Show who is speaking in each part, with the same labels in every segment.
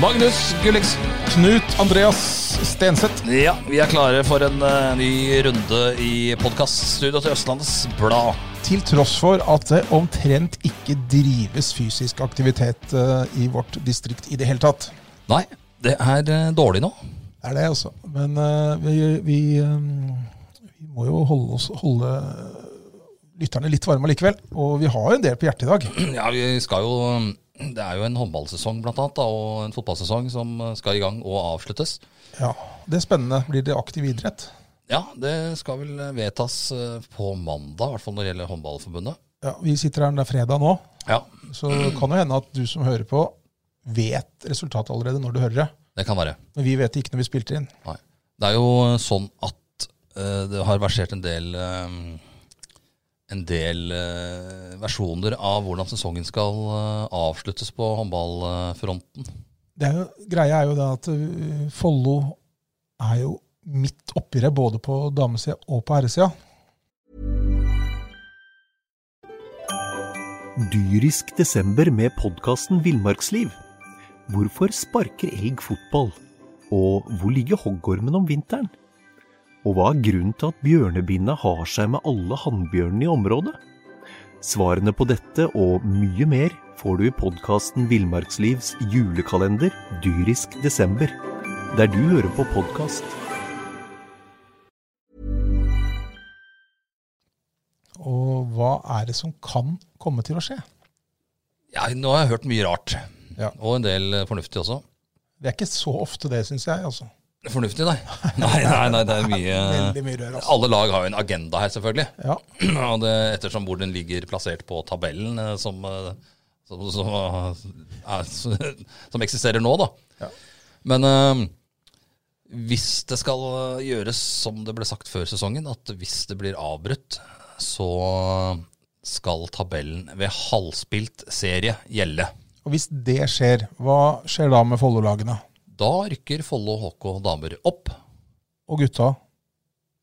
Speaker 1: Magnus Gulliksen.
Speaker 2: Knut Andreas Stenseth.
Speaker 1: Ja, vi er klare for en eh, ny runde i podkaststudioet til Østlandets Blad.
Speaker 2: Til tross for at det omtrent ikke drives fysisk aktivitet eh, i vårt distrikt i det hele tatt.
Speaker 1: Nei, det er eh, dårlig nå.
Speaker 2: Det er det, altså. Men eh, vi, vi, eh, vi må jo holde, oss, holde lytterne litt varme likevel. Og vi har en del på hjertet i dag.
Speaker 1: Ja, vi skal jo mm, Det er jo en håndballsesong blant annet, da, og en fotballsesong som eh, skal i gang og avsluttes.
Speaker 2: Ja, Det er spennende. Blir det aktiv idrett?
Speaker 1: Ja, det skal vel vedtas eh, på mandag, i hvert fall når det gjelder Håndballforbundet.
Speaker 2: Ja, Vi sitter her, det er fredag nå.
Speaker 1: Ja,
Speaker 2: Så kan jo hende at du som hører på, vet resultatet allerede når du hører det.
Speaker 1: det kan være.
Speaker 2: Men vi vet det ikke når vi spilte inn.
Speaker 1: Nei. Det er jo sånn at eh, det har versert en del eh, En del eh, versjoner av hvordan sesongen skal eh, avsluttes på håndballfronten.
Speaker 2: det er jo, greia er jo det at øh, Follo er jo midt oppi det, både på damesida og på herresida.
Speaker 3: Dyrisk desember med podkasten Villmarksliv. Hvorfor sparker elg fotball? Og hvor ligger hoggormen om vinteren? Og hva er grunnen til at bjørnebinna har seg med alle hannbjørnene i området? Svarene på dette og mye mer får du i podkasten Villmarkslivs julekalender dyrisk desember, der du hører på podkast.
Speaker 2: Og hva er det som kan komme til å skje?
Speaker 1: Ja, nå har jeg hørt mye rart,
Speaker 2: Ja.
Speaker 1: og en del eh, fornuftig også.
Speaker 2: Det er ikke så ofte det, syns jeg. altså.
Speaker 1: Fornuftig, nei. Nei, nei, nei, det er mye
Speaker 2: Veldig mye rør, altså.
Speaker 1: Alle lag har jo en agenda her, selvfølgelig.
Speaker 2: Ja,
Speaker 1: Og det, ettersom hvor den ligger plassert på tabellen eh, som, eh, som, som, eh, er, som eksisterer nå, da.
Speaker 2: Ja.
Speaker 1: Men eh, hvis det skal eh, gjøres som det ble sagt før sesongen, at hvis det blir avbrutt, så skal tabellen ved halvspilt serie gjelde.
Speaker 2: Og hvis det skjer, hva skjer da med Follo-lagene?
Speaker 1: Da rykker Follo HK damer opp.
Speaker 2: Og gutta?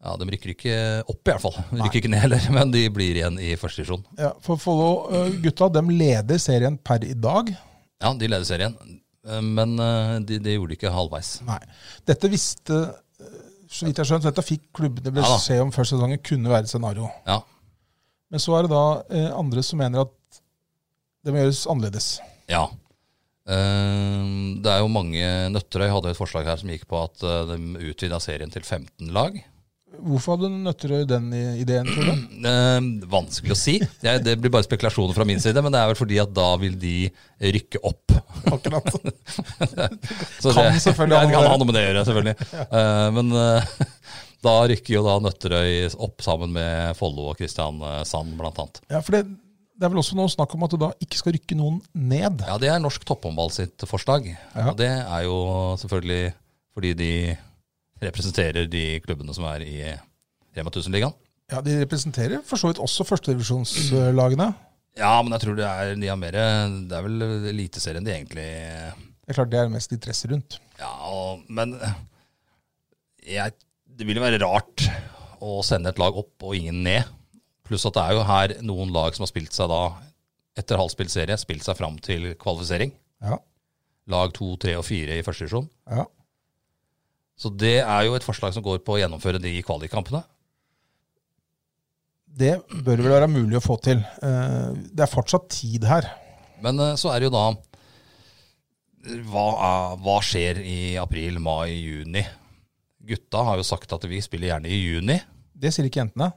Speaker 1: Ja, De rykker ikke opp, i hvert fall. De rykker ikke ned heller, men de blir igjen i første divisjon.
Speaker 2: Ja, for Follo-gutta dem leder serien per i dag.
Speaker 1: Ja, de leder serien, eh, men eh, de, de gjorde det ikke halvveis.
Speaker 2: Nei. Dette visste, øh, så vidt jeg skjønte, dette fikk klubbene
Speaker 1: Ja da.
Speaker 2: beskjed om før sesongen kunne være et scenario.
Speaker 1: Ja,
Speaker 2: Men så er det da eh, andre som mener at det må gjøres annerledes.
Speaker 1: ja. Eh, Det er jo mange Nøtterøy hadde et forslag her som gikk på at eh, de utvida serien til 15 lag.
Speaker 2: Hvorfor hadde Nøtterøy den i- ideen, tror du?
Speaker 1: Eh, Vanskelig å si. Det, det blir bare spekulasjoner fra min side, men det er vel fordi at da vil de rykke opp.
Speaker 2: Akkurat.
Speaker 1: Så
Speaker 2: Kan
Speaker 1: det-
Speaker 2: selvfølgelig
Speaker 1: Ja,
Speaker 2: ha
Speaker 1: det
Speaker 2: noe
Speaker 1: kan
Speaker 2: med
Speaker 1: ha noe med det å gjøre, selvfølgelig. Eh, men eh, da rykker jo da Nøtterøy opp sammen med Follo og Kristiansand, blant annet.
Speaker 2: Ja, for det, det er vel også noe snakk om at du da ikke skal rykke noen ned.
Speaker 1: Ja, det er norsk topphåndball sitt forslag.
Speaker 2: Ja.
Speaker 1: Og det er jo selvfølgelig fordi de representerer de klubbene som er i Rema 1000-ligaen.
Speaker 2: Ja, De representerer for så vidt også førstedivisjonslagene.
Speaker 1: Ja, men jeg tror det er, de har mer Det er vel eliteserien de egentlig
Speaker 2: Det er klart det er mest interesse rundt.
Speaker 1: Ja, og, men jeg, det ville være rart å sende et lag opp og ingen ned. Pluss at det er jo her noen lag som har spilt seg da, etter halvspilt serie, spilt seg fram til kvalifisering.
Speaker 2: Ja,
Speaker 1: Lag to, tre og fire i første divisjon.
Speaker 2: ja.
Speaker 1: Så det er jo et forslag som går på å gjennomføre de kvalikkampene.
Speaker 2: Det bør vel være mulig å få til. Eh, Det er fortsatt tid her.
Speaker 1: Men eh, så er det jo da hva, er, hva skjer i april, mai, juni? Gutta har jo sagt at vi spiller gjerne i juni.
Speaker 2: Det sier ikke jentene.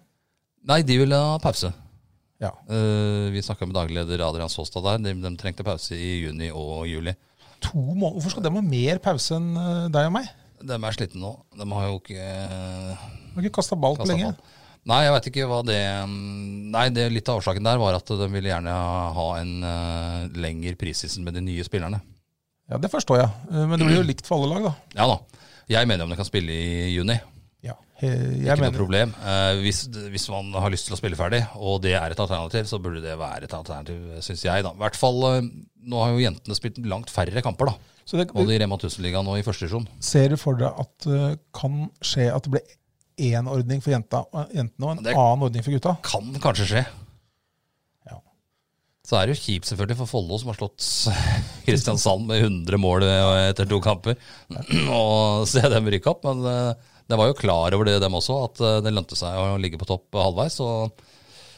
Speaker 1: Nei, de vil ha pause.
Speaker 2: Ja.
Speaker 1: Eh, vi snakka med daglig leder Adrian Saastad der. De, de trengte pause i juni og juli.
Speaker 2: To måneder. Hvorfor skal de ha mer pause enn eh, deg og meg?
Speaker 1: De er slitne nå. De har jo ikke eh,
Speaker 2: De har ikke kasta ball på
Speaker 1: kastet
Speaker 2: lenge.
Speaker 1: ball. Nei, jeg veit ikke hva det mm, Nei, det, litt av årsaken der var at de ville gjerne ha en eh, lengre prisseason med de nye spillerne.
Speaker 2: Ja, Det forstår jeg. Eh, Men det blir jo likt for alle lag, da.
Speaker 1: Ja da. Jeg mener om det kan spille i juni.
Speaker 2: Ja. Eh, Jeg
Speaker 1: Ikke noe
Speaker 2: mener
Speaker 1: problem. Eh, hvis, hvis man har lyst til å spille ferdig, og det er et alternativ, så burde det være et alternativ, syns jeg. da. I hvert fall, eh, Nå har jo jentene spilt langt færre kamper, da.
Speaker 2: Så det,
Speaker 1: Både i Rema 1000-ligaen og i første divisjon.
Speaker 2: Ser du for deg at det kan skje at det blir én ordning for jenta, jentene og en
Speaker 1: Det-
Speaker 2: annen ordning for gutta?
Speaker 1: Kan kanskje skje.
Speaker 2: Ja.
Speaker 1: Så er det jo kjipt selvfølgelig for Follo, som har slått Kristiansand med 100 mål eh, etter to kamper, og se dem rykke opp. Men eh, de var jo klar over det, dem også, at eh, det lønte seg å ligge på topp halvveis. Og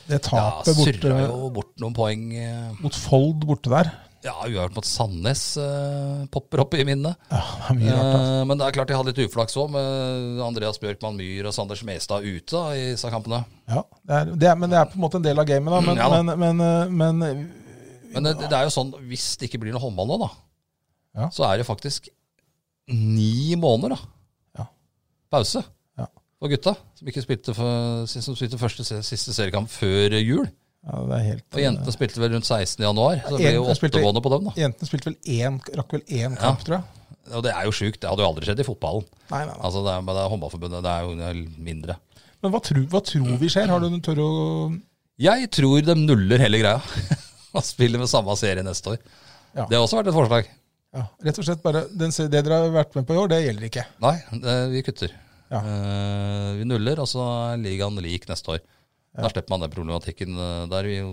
Speaker 2: Det
Speaker 1: ja,
Speaker 2: tapet borte
Speaker 1: surra jo bort noen poeng. eh,
Speaker 2: mot Fold borte der
Speaker 1: Ja, uavgjort mot Sandnes eh, popper opp i minnet.
Speaker 2: Ja, det er mye rart.
Speaker 1: Eh, men det er klart de hadde litt uflaks òg, med Andreas Bjørkman Myhr og Sander Smestad ute da, i disse kampene.
Speaker 2: Ja, det er, det er, men det er på en måte en del av gamet, da. Men,
Speaker 1: Ja da.
Speaker 2: men, men, eh, men
Speaker 1: Men det, det er jo sånn, hvis det ikke blir noe håndball nå, da,
Speaker 2: Ja.
Speaker 1: så er det faktisk ni måneder da.
Speaker 2: Ja.
Speaker 1: pause
Speaker 2: Ja.
Speaker 1: for gutta, som ikke spilte, for, som spilte første se- siste seriekamp før jul.
Speaker 2: ja, det er helt eh,
Speaker 1: Og jentene spilte vel rundt 16. januar, så det ble jo
Speaker 2: Jentene spilte-
Speaker 1: åtte måneder på dem. da.
Speaker 2: Jentene spilte vel én, rakk vel én kamp, tror jeg.
Speaker 1: Og det er jo sjukt, det hadde jo aldri skjedd i fotballen.
Speaker 2: Nei, nei, nei.
Speaker 1: Altså, det er, men det er Håndballforbundet det er jo det er mindre.
Speaker 2: Men hva tror, hva tror vi skjer? Har du noen tørre å
Speaker 1: Jeg tror de nuller hele greia. Og spiller med samme serie neste år.
Speaker 2: Ja.
Speaker 1: Det har også vært et forslag.
Speaker 2: ja, Rett og slett bare den, se- Det dere har vært med på i år, det gjelder ikke.
Speaker 1: Nei, det, vi kutter.
Speaker 2: Ja.
Speaker 1: Eh, vi nuller, og så er ligaen lik neste år. Da slipper man den problematikken eh, der. Vi, jo,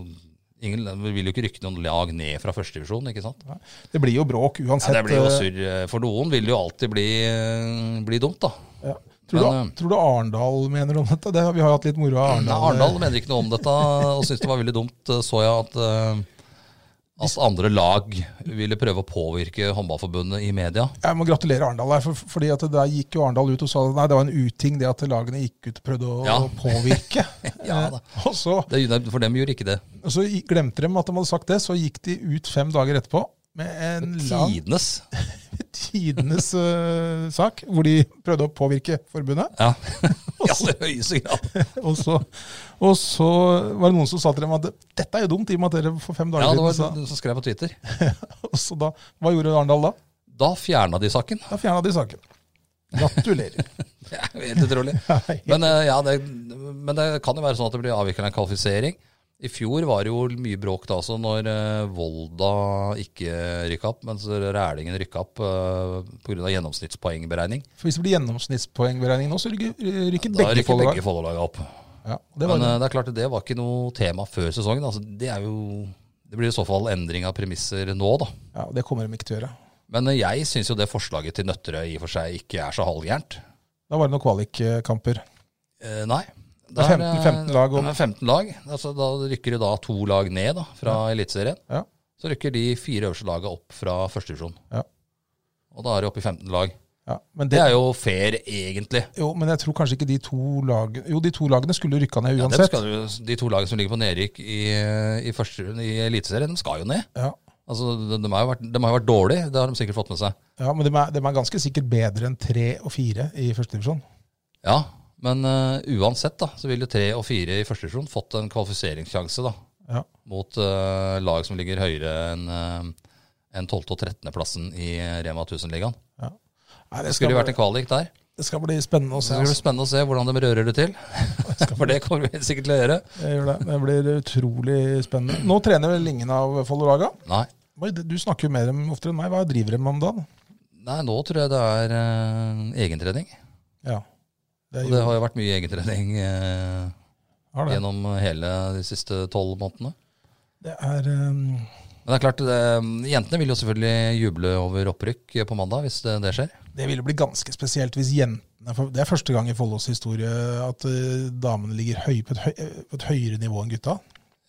Speaker 1: ingen, vi vil jo ikke rykke noen lag ned fra førstedivisjon, ikke sant?
Speaker 2: Nei. Det blir jo bråk
Speaker 1: Ja,
Speaker 2: uansett.
Speaker 1: det blir jo
Speaker 2: eh,
Speaker 1: surr. For noen vil det jo alltid bli, eh, bli dumt, da.
Speaker 2: Ja. Tror,
Speaker 1: Men,
Speaker 2: du, tror du Arendal mener om dette? Det, vi har jo hatt litt moro av
Speaker 1: Nei,
Speaker 2: Arendal.
Speaker 1: Arendal mener ikke noe om dette, og syntes det var veldig dumt, så jeg at, eh, at andre lag ville prøve å påvirke håndballforbundet i media.
Speaker 2: Eh, Jeg må gratulere Arendal. her, For, fordi at det der gikk jo Arendal ut og sa nei, det var en uting det at lagene gikk ut og prøvde å
Speaker 1: Ja.
Speaker 2: påvirke.
Speaker 1: Ja da.
Speaker 2: Eh, og så,
Speaker 1: Det, for dem gjorde ikke det.
Speaker 2: og så i- glemte de at de hadde sagt det, så gikk de ut fem dager etterpå med en lang
Speaker 1: Tidenes.
Speaker 2: tidenes eh, sak, hvor de prøvde å påvirke forbundet.
Speaker 1: Ja, i aller høyeste grad.
Speaker 2: Og så, og så var det noen som sa til dem at dette er jo dumt, i og med at dere for fem dager
Speaker 1: Ja, det var
Speaker 2: siden
Speaker 1: du som skrev på Twitter.
Speaker 2: sa. Og så da, Hva gjorde Arendal da?
Speaker 1: Da fjerna de saken.
Speaker 2: Da fjerna de saken. Gratulerer.
Speaker 1: Det er jo Helt utrolig. Men, eh, ja, det, men det kan jo være sånn at det blir avvikla en kvalifisering. I fjor var det jo mye bråk da også, når eh, Volda ikke rykka opp, mens Rælingen rykka opp eh, pga. gjennomsnittspoengberegning.
Speaker 2: For hvis det blir gjennomsnittspoengberegning nå, så rykker, rykker
Speaker 1: Da
Speaker 2: begge
Speaker 1: rykker
Speaker 2: Follo-lag.
Speaker 1: begge Follo-laga opp.
Speaker 2: Ja, det var
Speaker 1: Men eh, det er klart at det var ikke noe tema før sesongen. Altså, det, er jo, det blir i så fall endring av premisser nå, da.
Speaker 2: ja, det kommer de ikke til å gjøre.
Speaker 1: Men eh, jeg syns jo det forslaget til Nøtterøy i og for seg ikke er så halvgærent.
Speaker 2: Da var det noen kvalikkamper.
Speaker 1: Eh, nei.
Speaker 2: Det er 15 15 lag om-
Speaker 1: om 15 lag. Altså, da rykker det da to lag ned da, fra Eliteserien.
Speaker 2: Ja.
Speaker 1: Så rykker de fire øverste lagene opp fra første divisjon.
Speaker 2: Ja.
Speaker 1: Og da er det oppe i 15 lag.
Speaker 2: Ja, men
Speaker 1: Det
Speaker 2: det,
Speaker 1: er jo fair, egentlig.
Speaker 2: jo, men jeg tror kanskje ikke de to lagene Jo, de to lagene skulle rykka ned
Speaker 1: Ja, dem
Speaker 2: uansett.
Speaker 1: skal jo, de to lagene som ligger på nedrykk i, i, første, i Eliteserien, de skal jo ned.
Speaker 2: Ja,
Speaker 1: Altså, de, de, har jo vært, de har jo vært dårlige, det har de sikkert fått med seg.
Speaker 2: ja men de er, de er ganske sikkert bedre enn tre og fire i første divisjon.
Speaker 1: Ja, Men eh, uansett da, så vil jo tre og fire i første divisjon fått en kvalifiseringssjanse da,
Speaker 2: Ja.
Speaker 1: mot eh, lag som ligger høyere enn eh, enn 12. og 13. plassen i Rema 1000-ligaen.
Speaker 2: Nei,
Speaker 1: Det
Speaker 2: det, skal
Speaker 1: skulle jo vært
Speaker 2: bli,
Speaker 1: en kvalik der.
Speaker 2: det skal bli spennende å
Speaker 1: Så
Speaker 2: se.
Speaker 1: det blir
Speaker 2: Altså.
Speaker 1: spennende å se hvordan de rører det til. For det kommer vi sikkert til å gjøre.
Speaker 2: Jeg gjør det. det blir utrolig spennende. Nå trener vel ingen av Follo-laga?
Speaker 1: Nei.
Speaker 2: Oi, det- Du snakker jo mer om oftere enn meg. Hva driver de med om dagen?
Speaker 1: Nei, nå tror jeg det er eh, egentrening.
Speaker 2: Ja. Det
Speaker 1: Og
Speaker 2: er,
Speaker 1: det
Speaker 2: jo-
Speaker 1: har jo vært mye egentrening eh,
Speaker 2: har det.
Speaker 1: gjennom hele de siste tolv månedene.
Speaker 2: det er um,
Speaker 1: Men det er klart, det, jentene vil jo selvfølgelig juble over opprykk på mandag, hvis det, det skjer.
Speaker 2: Det ville bli ganske spesielt hvis jentene for Det er første gang i Follos historie at eh, damene ligger høy, på, et høy, eh, på et høyere nivå enn gutta.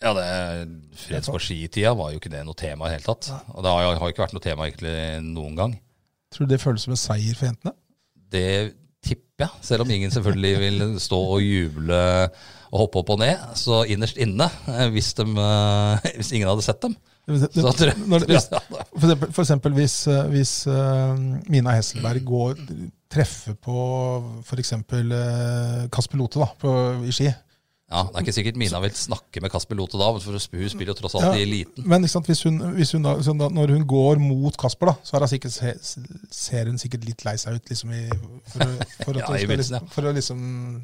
Speaker 1: Ja, det Freds på skitida var jo ikke det noe tema i det hele tatt. Og det har har jo ikke vært noe tema egentlig noen gang.
Speaker 2: Tror du det føles som en seier for jentene?
Speaker 1: Det tipper jeg, selv om ingen selvfølgelig vil stå og juble og hoppe opp og ned. Så innerst inne, eh, hvis, de, eh, hvis ingen hadde sett dem,
Speaker 2: Det- det-
Speaker 1: så tror jeg,
Speaker 2: når
Speaker 1: tror
Speaker 2: det-
Speaker 1: jeg
Speaker 2: hvis-
Speaker 1: det hadde-
Speaker 2: For eksempel, for eksempel hvis, eh, hvis eh, Mina Hesselberg går, eh, treffer på f.eks. Kasper Lote da, på, i ski.
Speaker 1: Ja, Det er ikke sikkert Mina vil snakke med Kasper Lote da, for hun spiller jo tross alt
Speaker 2: Ja.
Speaker 1: i eliten.
Speaker 2: Men ikke sant, hvis hun, hvis hun da, hvis hun da, når hun går mot Kasper, da, så er hun sikkert, se- ser hun sikkert litt lei seg ut. Liksom i, for, å- for, at
Speaker 1: Ja,
Speaker 2: hun
Speaker 1: i
Speaker 2: skal,
Speaker 1: begynnelsen,
Speaker 2: liksom, for å liksom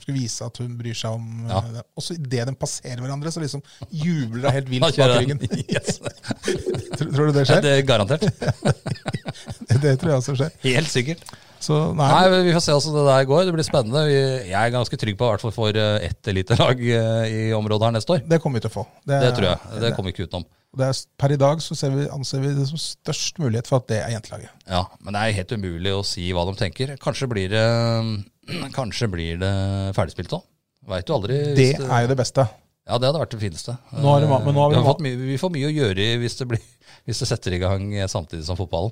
Speaker 2: skulle vise at hun bryr seg om
Speaker 1: Ja.
Speaker 2: eh, det. Også idet de passerer hverandre, så liksom jubler hun helt
Speaker 1: Da
Speaker 2: vilt bak
Speaker 1: kjører
Speaker 2: ryggen.
Speaker 1: den. Yes.
Speaker 2: Tror, tror du det
Speaker 1: Ja,
Speaker 2: skjer?
Speaker 1: det er garantert.
Speaker 2: Det, det tror jeg også skjer.
Speaker 1: Helt sikkert.
Speaker 2: Så nei,
Speaker 1: Nei, men Vi får se hvordan det der går. Det blir spennende. Vi- Jeg er ganske trygg på i hvert fall for eh, ett elitelag eh, i området her neste år.
Speaker 2: det kommer vi til å få.
Speaker 1: Det tror jeg. Det kommer vi ikke utenom.
Speaker 2: det er, per i dag så ser vi, anser vi det som størst mulighet for at det er jentelaget.
Speaker 1: Ja, Men det er helt umulig å si hva de tenker. Kanskje blir det, kanskje blir det ferdigspilt òg. Veit jo aldri. hvis
Speaker 2: Det er jo det beste.
Speaker 1: Ja, det hadde vært det fineste.
Speaker 2: Nå har de- men nå har vi-
Speaker 1: vi, har fått mye, vi får mye å gjøre i hvis det, blir, hvis det setter i gang samtidig som fotballen.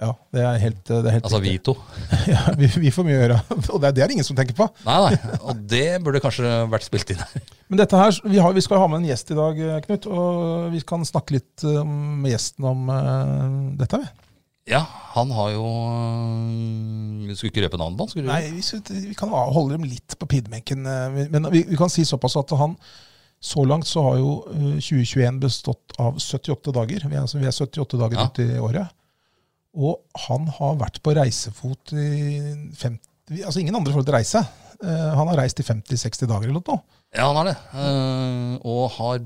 Speaker 2: Ja, det er helt, det er helt
Speaker 1: Altså vi
Speaker 2: riktig.
Speaker 1: to.
Speaker 2: Ja, vi, vi får mye å gjøre. Og det, er- det er det ingen som tenker på.
Speaker 1: Nei, nei. Og det burde kanskje vært spilt inn her.
Speaker 2: Men dette her, vi, har, vi skal ha med en gjest i dag, eh, Knut. Og vi kan snakke litt eh, med gjesten om eh, dette. vi.
Speaker 1: Ja, han har jo øh, Du skulle ikke røpe navnet på han, skulle du?
Speaker 2: Nei, vi, skal- vi kan ha- holde dem litt på pidbenken. eh, vi- Men vi, vi kan si såpass at han så langt så har jo eh, 2021 bestått av 78 dager. Vi er, altså, vi er 78 dager
Speaker 1: Ja.
Speaker 2: ut i året. Og han har vært på reisefot i 50 vi- Altså ingen andre forhold til reise. Eh, han har reist i 50-60 dager eller noe.
Speaker 1: Ja, han har det. Eh, og har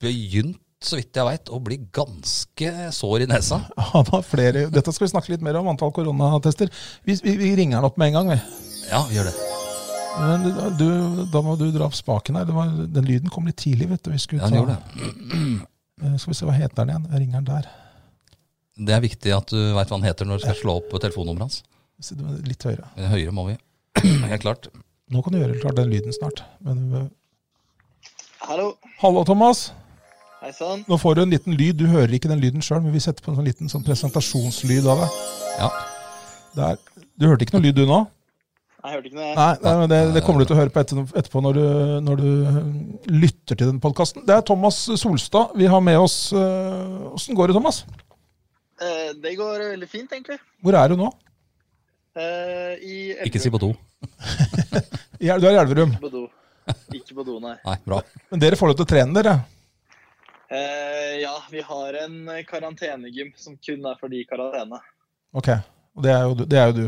Speaker 1: begynt, så vidt jeg veit, å bli ganske sår i nesa.
Speaker 2: Han har flere Dette skal vi snakke litt mer om, antall koronatester. Vi, vi, vi ringer han opp med en gang, vi.
Speaker 1: Ja, vi gjør det.
Speaker 2: Men du, da må du dra opp spaken her. Det var, den lyden kom litt tidlig, vet du. Vi skulle
Speaker 1: Ja, han
Speaker 2: ta-
Speaker 1: gjorde det.
Speaker 2: Eh, Skal vi se, hva heter den igjen? Jeg ringer den der.
Speaker 1: Det er viktig at du veit hva han heter når du skal slå opp telefonnummeret hans.
Speaker 2: Så det var Litt høyere.
Speaker 1: Høyere må vi. Helt klart.
Speaker 2: Nå kan du gjøre klart den lyden snart. Men, eh,
Speaker 4: Hallo.
Speaker 2: hallo, Thomas.
Speaker 4: Hei sann.
Speaker 2: Nå får du en liten lyd. Du hører ikke den lyden sjøl, men vi setter på en sånn liten sånn presentasjonslyd av det.
Speaker 1: Ja.
Speaker 2: Der. Du hørte ikke noe lyd, du nå?
Speaker 4: Jeg hørte ikke noe. jeg.
Speaker 2: Nei, nei, men det, det kommer du til å høre på etter, etterpå når du, når du eh, lytter til den podkasten. Det er Thomas Solstad vi har med oss. Åssen går det, Thomas?
Speaker 4: Eh, Det går veldig fint, egentlig.
Speaker 2: Hvor er du nå?
Speaker 4: Eh, I
Speaker 1: Ikke si på to.
Speaker 2: I- Du er i Elverum.
Speaker 4: på do. Ikke på do, nei.
Speaker 1: Nei, bra.
Speaker 2: Men dere får lov til å trene dere?
Speaker 4: Eh, ja, vi har en karantenegym som kun er for de i karantene.
Speaker 2: Ok. Og det er jo du. Det er jo du.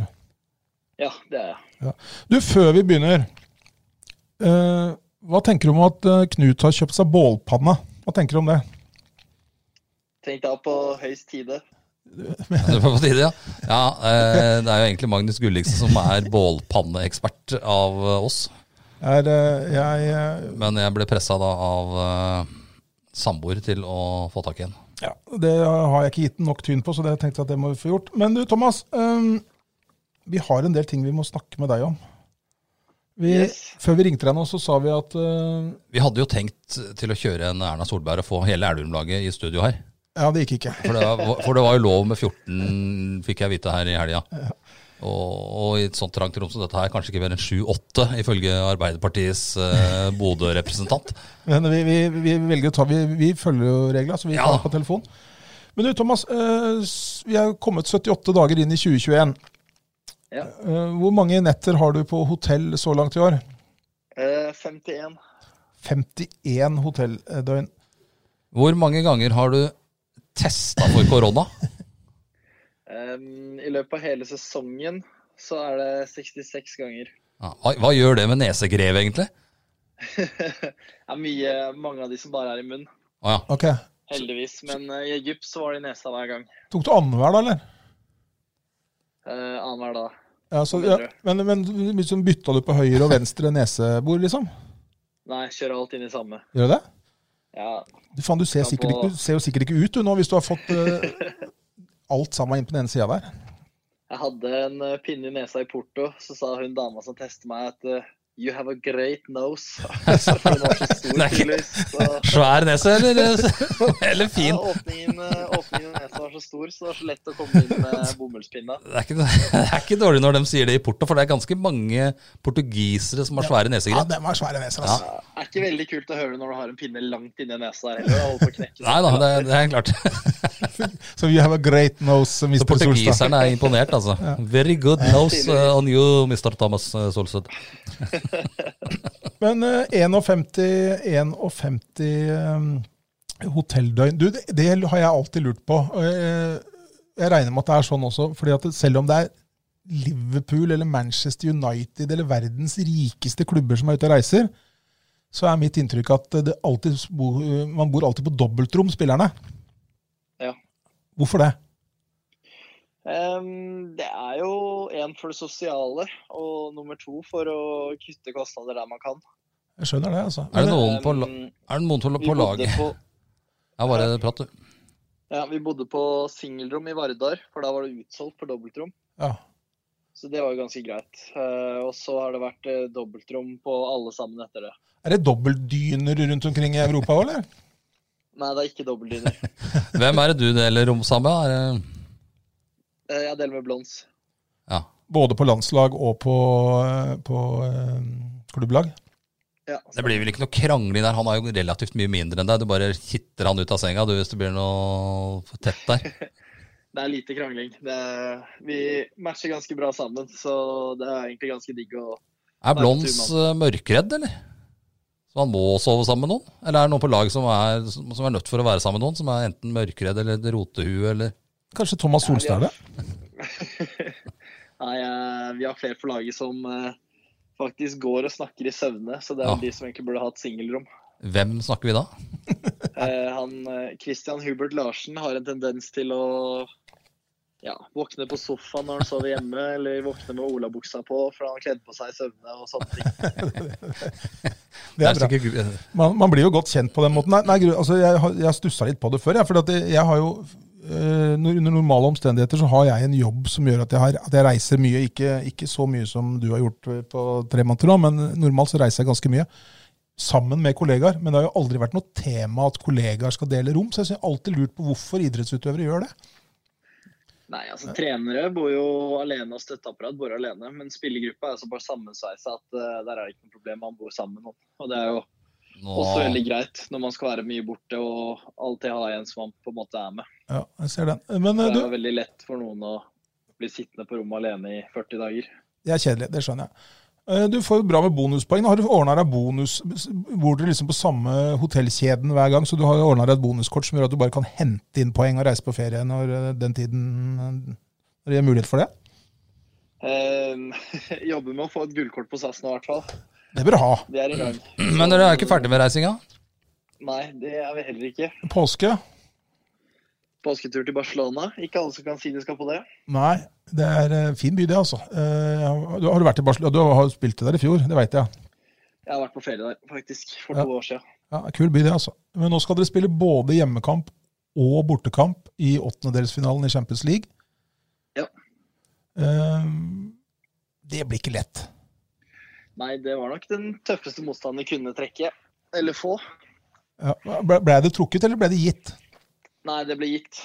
Speaker 4: Ja, det er jeg.
Speaker 2: Du, før vi begynner, eh, hva tenker du om at eh, Knut har kjøpt seg bålpanne? Hva tenker du om det?
Speaker 4: Tenk deg på høyst tide.
Speaker 1: Ja, Det var på tide, ja. ja eh, det er jo egentlig Magnus Gulliksen som er bålpanneekspert av eh, oss.
Speaker 2: Er, eh, jeg, eh,
Speaker 1: Men jeg ble pressa da av eh, samboer til å få tak i en.
Speaker 2: ja, det har jeg ikke gitt den nok tyn på, så det tenkte jeg at det må vi få gjort. Men du, Thomas. eh, vi har en del ting vi må snakke med deg om. Vi,
Speaker 4: Yes.
Speaker 2: Før vi ringte deg nå, så sa vi at eh,
Speaker 1: Vi hadde jo tenkt til å kjøre en Erna Solberg og få hele Elverum-laget i studio her.
Speaker 2: Ja, det gikk ikke.
Speaker 1: For det, var, for det var jo lov med 14, fikk jeg vite her i helga. Og, og i et sånt trangt rom som dette her, kanskje ikke mer enn 7-8, ifølge Arbeiderpartiets eh, Bodø-representant.
Speaker 2: Men vi, vi, vi velger å ta Vi, vi følger jo reglene, så vi
Speaker 1: Ja.
Speaker 2: tar på telefon. Men du, Thomas. eh, s- Vi er kommet 78 dager inn i 2021.
Speaker 4: Ja.
Speaker 2: Eh, Hvor mange netter har du på hotell så langt i år?
Speaker 4: Eh, 51.
Speaker 2: 51 hotelldøgn.
Speaker 1: Hvor mange ganger har du testa for korona?
Speaker 4: Em, I løpet av hele sesongen så er det 66 ganger.
Speaker 1: Ja, hva, hva gjør det med nesegrev, egentlig?
Speaker 4: Det er mye, mange av de som bare er i munn.
Speaker 1: Å ja.
Speaker 2: Ok.
Speaker 4: Heldigvis. Men eh, i Egypt så var det i nesa hver gang.
Speaker 2: Tok du annenhver, da, eller?
Speaker 4: Eh, Annenhver dag.
Speaker 2: Ja, så,
Speaker 4: Hva
Speaker 2: ja,
Speaker 4: mener du?
Speaker 2: men men liksom bytta du på høyre og venstre nesebor, liksom?
Speaker 4: Nei, kjører alt inn i samme.
Speaker 2: Gjør du det?
Speaker 4: Ja,
Speaker 2: Du, faen, du ser,
Speaker 4: Ja,
Speaker 2: sikkert
Speaker 4: på-
Speaker 2: ikke, du ser jo sikkert ikke ut du nå, hvis du har fått eh, alt sammen inn på den ene sida der.
Speaker 4: Jeg hadde en eh, pinne i nesa i Porto, så sa hun dama som testet meg at eh, You have a great nose. For Den var så stor,
Speaker 1: Nei.
Speaker 4: tydeligvis. Så
Speaker 1: Svær nese, eller, eller
Speaker 4: ja,
Speaker 1: fin?
Speaker 4: åpningen, eh, åpningen i nesa var så stor, så det var så lett å komme inn med bomullspinna.
Speaker 1: Det er, ikke, det er ikke dårlig når de sier det i Porto, for det er ganske mange portugisere som har svære
Speaker 2: Ja,
Speaker 1: nesegrev.
Speaker 2: den var svær, den nesa.
Speaker 1: Ja.
Speaker 2: Altså.
Speaker 4: Det er ikke veldig kult å høre når du har en pinne langt inni nesa der heller. og holder på å knekke
Speaker 1: Nei da,
Speaker 4: seg.
Speaker 1: det, det er klart.
Speaker 2: So you have a great nose,
Speaker 1: Så
Speaker 2: Mr. Solstad.
Speaker 1: portugiserne er imponert, altså. Very good nose uh, on you, Mr. Thomas uh, Solseth.
Speaker 2: Men eh, 51, 51 eh, hotelldøgn Du, det, det har jeg alltid lurt på. og jeg- eh, Jeg regner med at det er sånn også, fordi at selv om det er Liverpool eller Manchester United eller verdens rikeste klubber som er ute og reiser, så er mitt inntrykk at det alltid, bo- man bor alltid på dobbeltrom, spillerne.
Speaker 4: Ja.
Speaker 2: Hvorfor det?
Speaker 4: Ehm, det er jo én for det sosiale, og nummer to for å kutte kostnader der man kan.
Speaker 2: Jeg skjønner det, altså.
Speaker 1: Er det noen på, la-
Speaker 4: Ehm,
Speaker 1: er det noen på,
Speaker 4: vi
Speaker 1: på
Speaker 4: bodde
Speaker 1: laget?
Speaker 4: På,
Speaker 1: Ja, bare prat, du.
Speaker 4: ja, vi bodde på singelrom i Vardar, for da var det utsolgt for dobbeltrom.
Speaker 2: Ja.
Speaker 4: Så det var jo ganske greit. Eh, og så har det vært eh, dobbeltrom på alle sammen etter det.
Speaker 2: Er det dobbeltdyner rundt omkring i Europa òg, eller?
Speaker 4: Nei, det er ikke dobbeltdyner.
Speaker 1: Hvem er det du deler rom sammen med? Er det-
Speaker 4: Eh, jeg deler med Blons.
Speaker 1: Ja.
Speaker 2: Både på landslag og på, eh, på eh, klubblag?
Speaker 4: Ja,
Speaker 1: Det blir vel ikke noe krangling der. Han er jo relativt mye mindre enn deg. Du bare kitter han ut av senga du, hvis det blir noe for tett der.
Speaker 4: det er lite krangling. Det er, vi matcher ganske bra sammen, så det er egentlig ganske digg å
Speaker 1: Er Blons eh, mørkredd, eller? Så han må sove sammen med noen? Eller er det noen på lag som er, som er nødt for å være sammen med noen? Som er enten mørkredd eller et rotehue eller
Speaker 2: Kanskje Thomas
Speaker 4: Ja, vi
Speaker 2: Solstad er det?
Speaker 4: Nei, eh, vi har flere på laget som eh, faktisk går og snakker i søvne, så det er jo
Speaker 1: Ja.
Speaker 4: de som egentlig burde hatt singelrom.
Speaker 1: Hvem snakker vi da?
Speaker 4: Eh, han, eh, Christian Hubert Larsen har en tendens til å ja, våkne på sofaen når han sover hjemme, eller våkne med olabuksa på for han kledde på seg i søvne og sånne ting.
Speaker 2: Det er bra.
Speaker 1: sikkert gu- eh,
Speaker 2: Man, man blir jo godt kjent på den måten. Nei, nei gru- altså, jeg, har- jeg stussa litt på det før. Jeg, for at jeg, jeg har jo, eh, når- under normale omstendigheter så har jeg en jobb som gjør at jeg, har, at jeg reiser mye. Ikke, ikke så mye som du har gjort eh, på tre måneder nå, men normalt så reiser jeg ganske mye. Sammen med kollegaer. Men det har jo aldri vært noe tema at kollegaer skal dele rom. Så jeg har alltid lurt på hvorfor idrettsutøvere gjør det.
Speaker 4: Nei, altså trenere bor jo alene, og støtteapparat bor alene, men spillergruppa er såpass sammensveisa at eh, der er det ikke noe problem, man bor sammen med noen. Og det er jo
Speaker 1: Nå,
Speaker 4: også veldig greit når man skal være mye borte og alltid ha en som man på en måte er med.
Speaker 2: Ja, jeg ser den. Men eh,
Speaker 4: Det
Speaker 2: du,
Speaker 4: er jo veldig lett for noen å bli sittende på rommet alene i 40 dager.
Speaker 2: Det er kjedelig, det skjønner jeg. Eh, Du får jo bra med bonuspoeng. Har du ordna deg bonus Bor dere liksom på samme hotellkjeden hver gang, så du har ordna deg et bonuskort som gjør at du bare kan hente inn poeng og reise på ferie når eh, den tiden eh, når det er mulighet for det?
Speaker 4: Eh, jobber med å få et gullkort på SAS nå, i hvert fall.
Speaker 2: Det bør du ha.
Speaker 4: Vi er i gang.
Speaker 1: Men dere er ikke ferdig med reisinga?
Speaker 4: Nei, det er vi heller ikke.
Speaker 2: Påske?
Speaker 4: Påsketur til Barcelona. Ikke alle som kan si de skal på det.
Speaker 2: Nei. Det er eh, fin by, det, altså. Eh, Du har du vært i Barcelona? Du har jo spilt det der i fjor, det veit jeg.
Speaker 4: Jeg har vært på ferie der, faktisk, for
Speaker 2: Ja.
Speaker 4: to år siden.
Speaker 2: Ja, Kul by, det, altså. Men nå skal dere spille både hjemmekamp og bortekamp i åttendedelsfinalen i Champions League.
Speaker 4: Ja.
Speaker 2: Eh, Det blir ikke lett.
Speaker 4: Nei, det var nok den tøffeste motstanden vi kunne trekke. Eller få.
Speaker 2: Ja, ble, ble det trukket, eller ble det gitt?
Speaker 4: Nei, det ble gitt.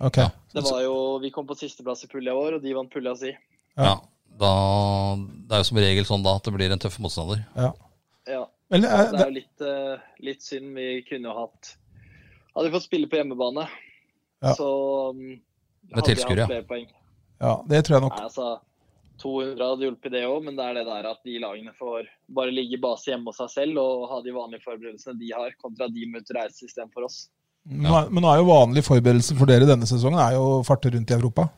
Speaker 2: Ok.
Speaker 4: Det var jo, Vi kom på sisteplass i pulja vår, og de vant pulja si.
Speaker 2: Ja.
Speaker 1: Ja. Da, det er jo som regel sånn da at det blir en tøff motstander.
Speaker 2: Ja.
Speaker 4: Ja.
Speaker 2: Men, eh,
Speaker 4: Det
Speaker 2: det,
Speaker 4: er jo litt, eh, litt synd. Vi kunne jo hatt Hadde vi fått spille på hjemmebane,
Speaker 2: Ja.
Speaker 4: så mm,
Speaker 1: Med
Speaker 4: hadde jeg
Speaker 1: tilskuere, ja.
Speaker 4: hatt flere poeng.
Speaker 2: ja, det tror jeg nok.
Speaker 4: Nei, altså, 200 hadde hjulpet det òg, men det er det der at de lagene får bare ligge i base hjemme hos seg selv og ha de vanlige forberedelsene de har, kontra de må ut og reise istedenfor oss.
Speaker 2: Men nå er- Men nå er jo vanlig forberedelse for dere denne sesongen er jo å farte rundt i Europa.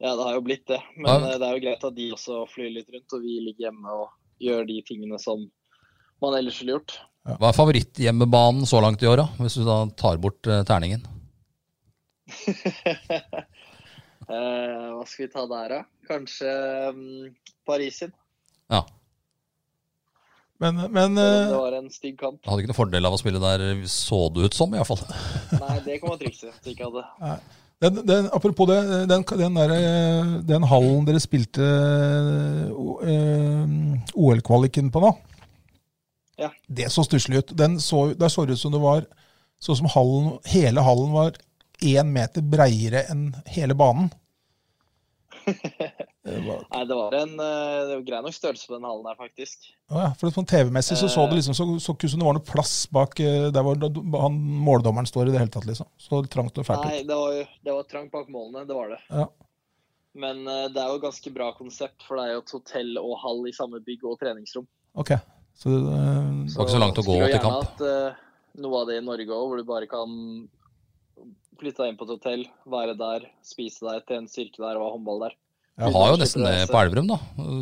Speaker 4: Ja, det har jo blitt det. Men
Speaker 1: Ja.
Speaker 4: eh, det er jo greit at de også flyr litt rundt, og vi ligger hjemme og gjør de tingene som man ellers ville gjort.
Speaker 1: Hva er favoritthjemmebanen så langt i år, da? Hvis du da tar bort eh, terningen.
Speaker 4: Eh, hva skal vi ta der, da? Kanskje mm, Paris sin?
Speaker 1: Ja.
Speaker 2: Men, men
Speaker 4: Selv om Det
Speaker 2: eh,
Speaker 4: var en stygg kamp.
Speaker 1: Du hadde ikke noe fordel av å spille der, så det ut som, iallfall.
Speaker 4: Nei, det kan man trikse. hvis Ikke hadde.
Speaker 2: den, den, apropos det, den, den, der, eh, den hallen dere spilte eh, o- eh, OL-kvaliken på nå,
Speaker 4: Ja.
Speaker 2: det så stusslig ut. Den så, der så det ut som det var Sånn som hallen, hele hallen var én meter breiere enn hele banen. Det var-
Speaker 4: Nei, det var en eh, det var grei nok størrelse på den hallen her, faktisk.
Speaker 2: Å Ja, for sånn TV-messig så så det liksom så, så ikke ut som det var noe plass bak eh, der hvor da- han, måldommeren står i det hele tatt, liksom. Så trangt og fælt ut.
Speaker 4: Nei, det var, jo- det var trangt bak målene, det var det.
Speaker 2: Ja.
Speaker 4: Men eh, det er jo et ganske bra konsept, for det er jo et hotell og hall i samme bygg og treningsrom.
Speaker 2: Ok. Så eh,
Speaker 1: var ikke så langt å gå
Speaker 4: skulle jeg
Speaker 1: til
Speaker 4: gjerne
Speaker 1: kamp.
Speaker 4: hatt, eh, noe av det i Norge òg, hvor du bare kan flytte deg inn på et hotell, være der, spise der, trene styrke der og ha håndball der.
Speaker 2: Ja.
Speaker 1: Du har jo nesten eh, det altså. på Elverum, da.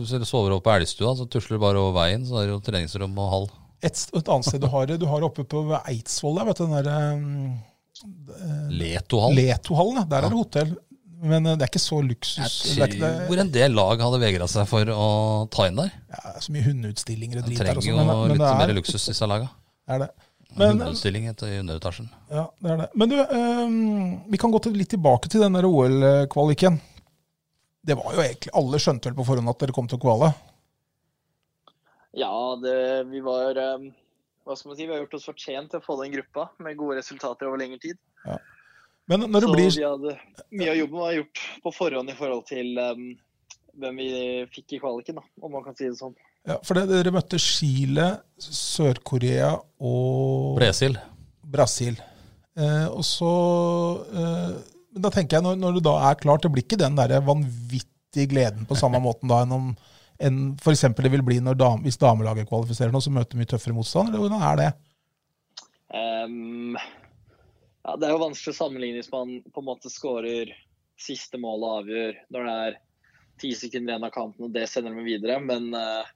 Speaker 1: Så du sover over på Elgstua, så tusler du bare over veien. Så er det jo treningsrom og hall.
Speaker 2: et, st- et annet sted du har det, du har det oppe på Eidsvoll der, vet du, den der eh,
Speaker 1: Letohall.
Speaker 2: Letohallen, ja. der er det hotell. Men eh, det er ikke så luksus. Det er
Speaker 1: Jeg
Speaker 2: ikke det,
Speaker 1: tror en del lag hadde vegra seg for å ta inn der.
Speaker 2: ja, det er så mye hundeutstillinger
Speaker 1: De
Speaker 2: og drit der.
Speaker 1: trenger
Speaker 2: og
Speaker 1: jo
Speaker 2: sånn, men- men
Speaker 1: litt
Speaker 2: det er-
Speaker 1: mer luksus, disse laga.
Speaker 2: er det. Men,
Speaker 1: Hundeutstilling etter i underetasjen.
Speaker 2: ja, det er det. Men du, eh, vi kan gå til, litt tilbake til den der OL-kvaliken. Det var jo egentlig, Alle skjønte vel på forhånd at dere kom til å kvale.
Speaker 4: Ja, det, vi var eh, Hva skal man si? Vi har gjort oss fortjent til å få den gruppa med gode resultater over lengre tid.
Speaker 2: Men når det
Speaker 4: så
Speaker 2: blir
Speaker 4: vi hadde, mye av jobben var gjort på forhånd i forhold til eh, hvem vi fikk i kvaliken, da, om man kan si det sånn.
Speaker 2: ja, For det, dere møtte Chile, Sør-Korea og
Speaker 1: Bresil.
Speaker 2: Brasil. Eh, og så eh, men Da tenker jeg, når, når du da er klar, det blir ikke den der vanvittige gleden på samme måten da enn om enn for eksempel det vil bli når dam, hvis damelaget kvalifiserer nå, så møter mye tøffere motstand? Eller hvordan er det?
Speaker 4: Ehm, ja, det er jo vanskelig å sammenligne hvis man på en måte skårer siste mål og avgjør når det er ti sekunder igjen av kampen, og det sender dem videre. Men eh,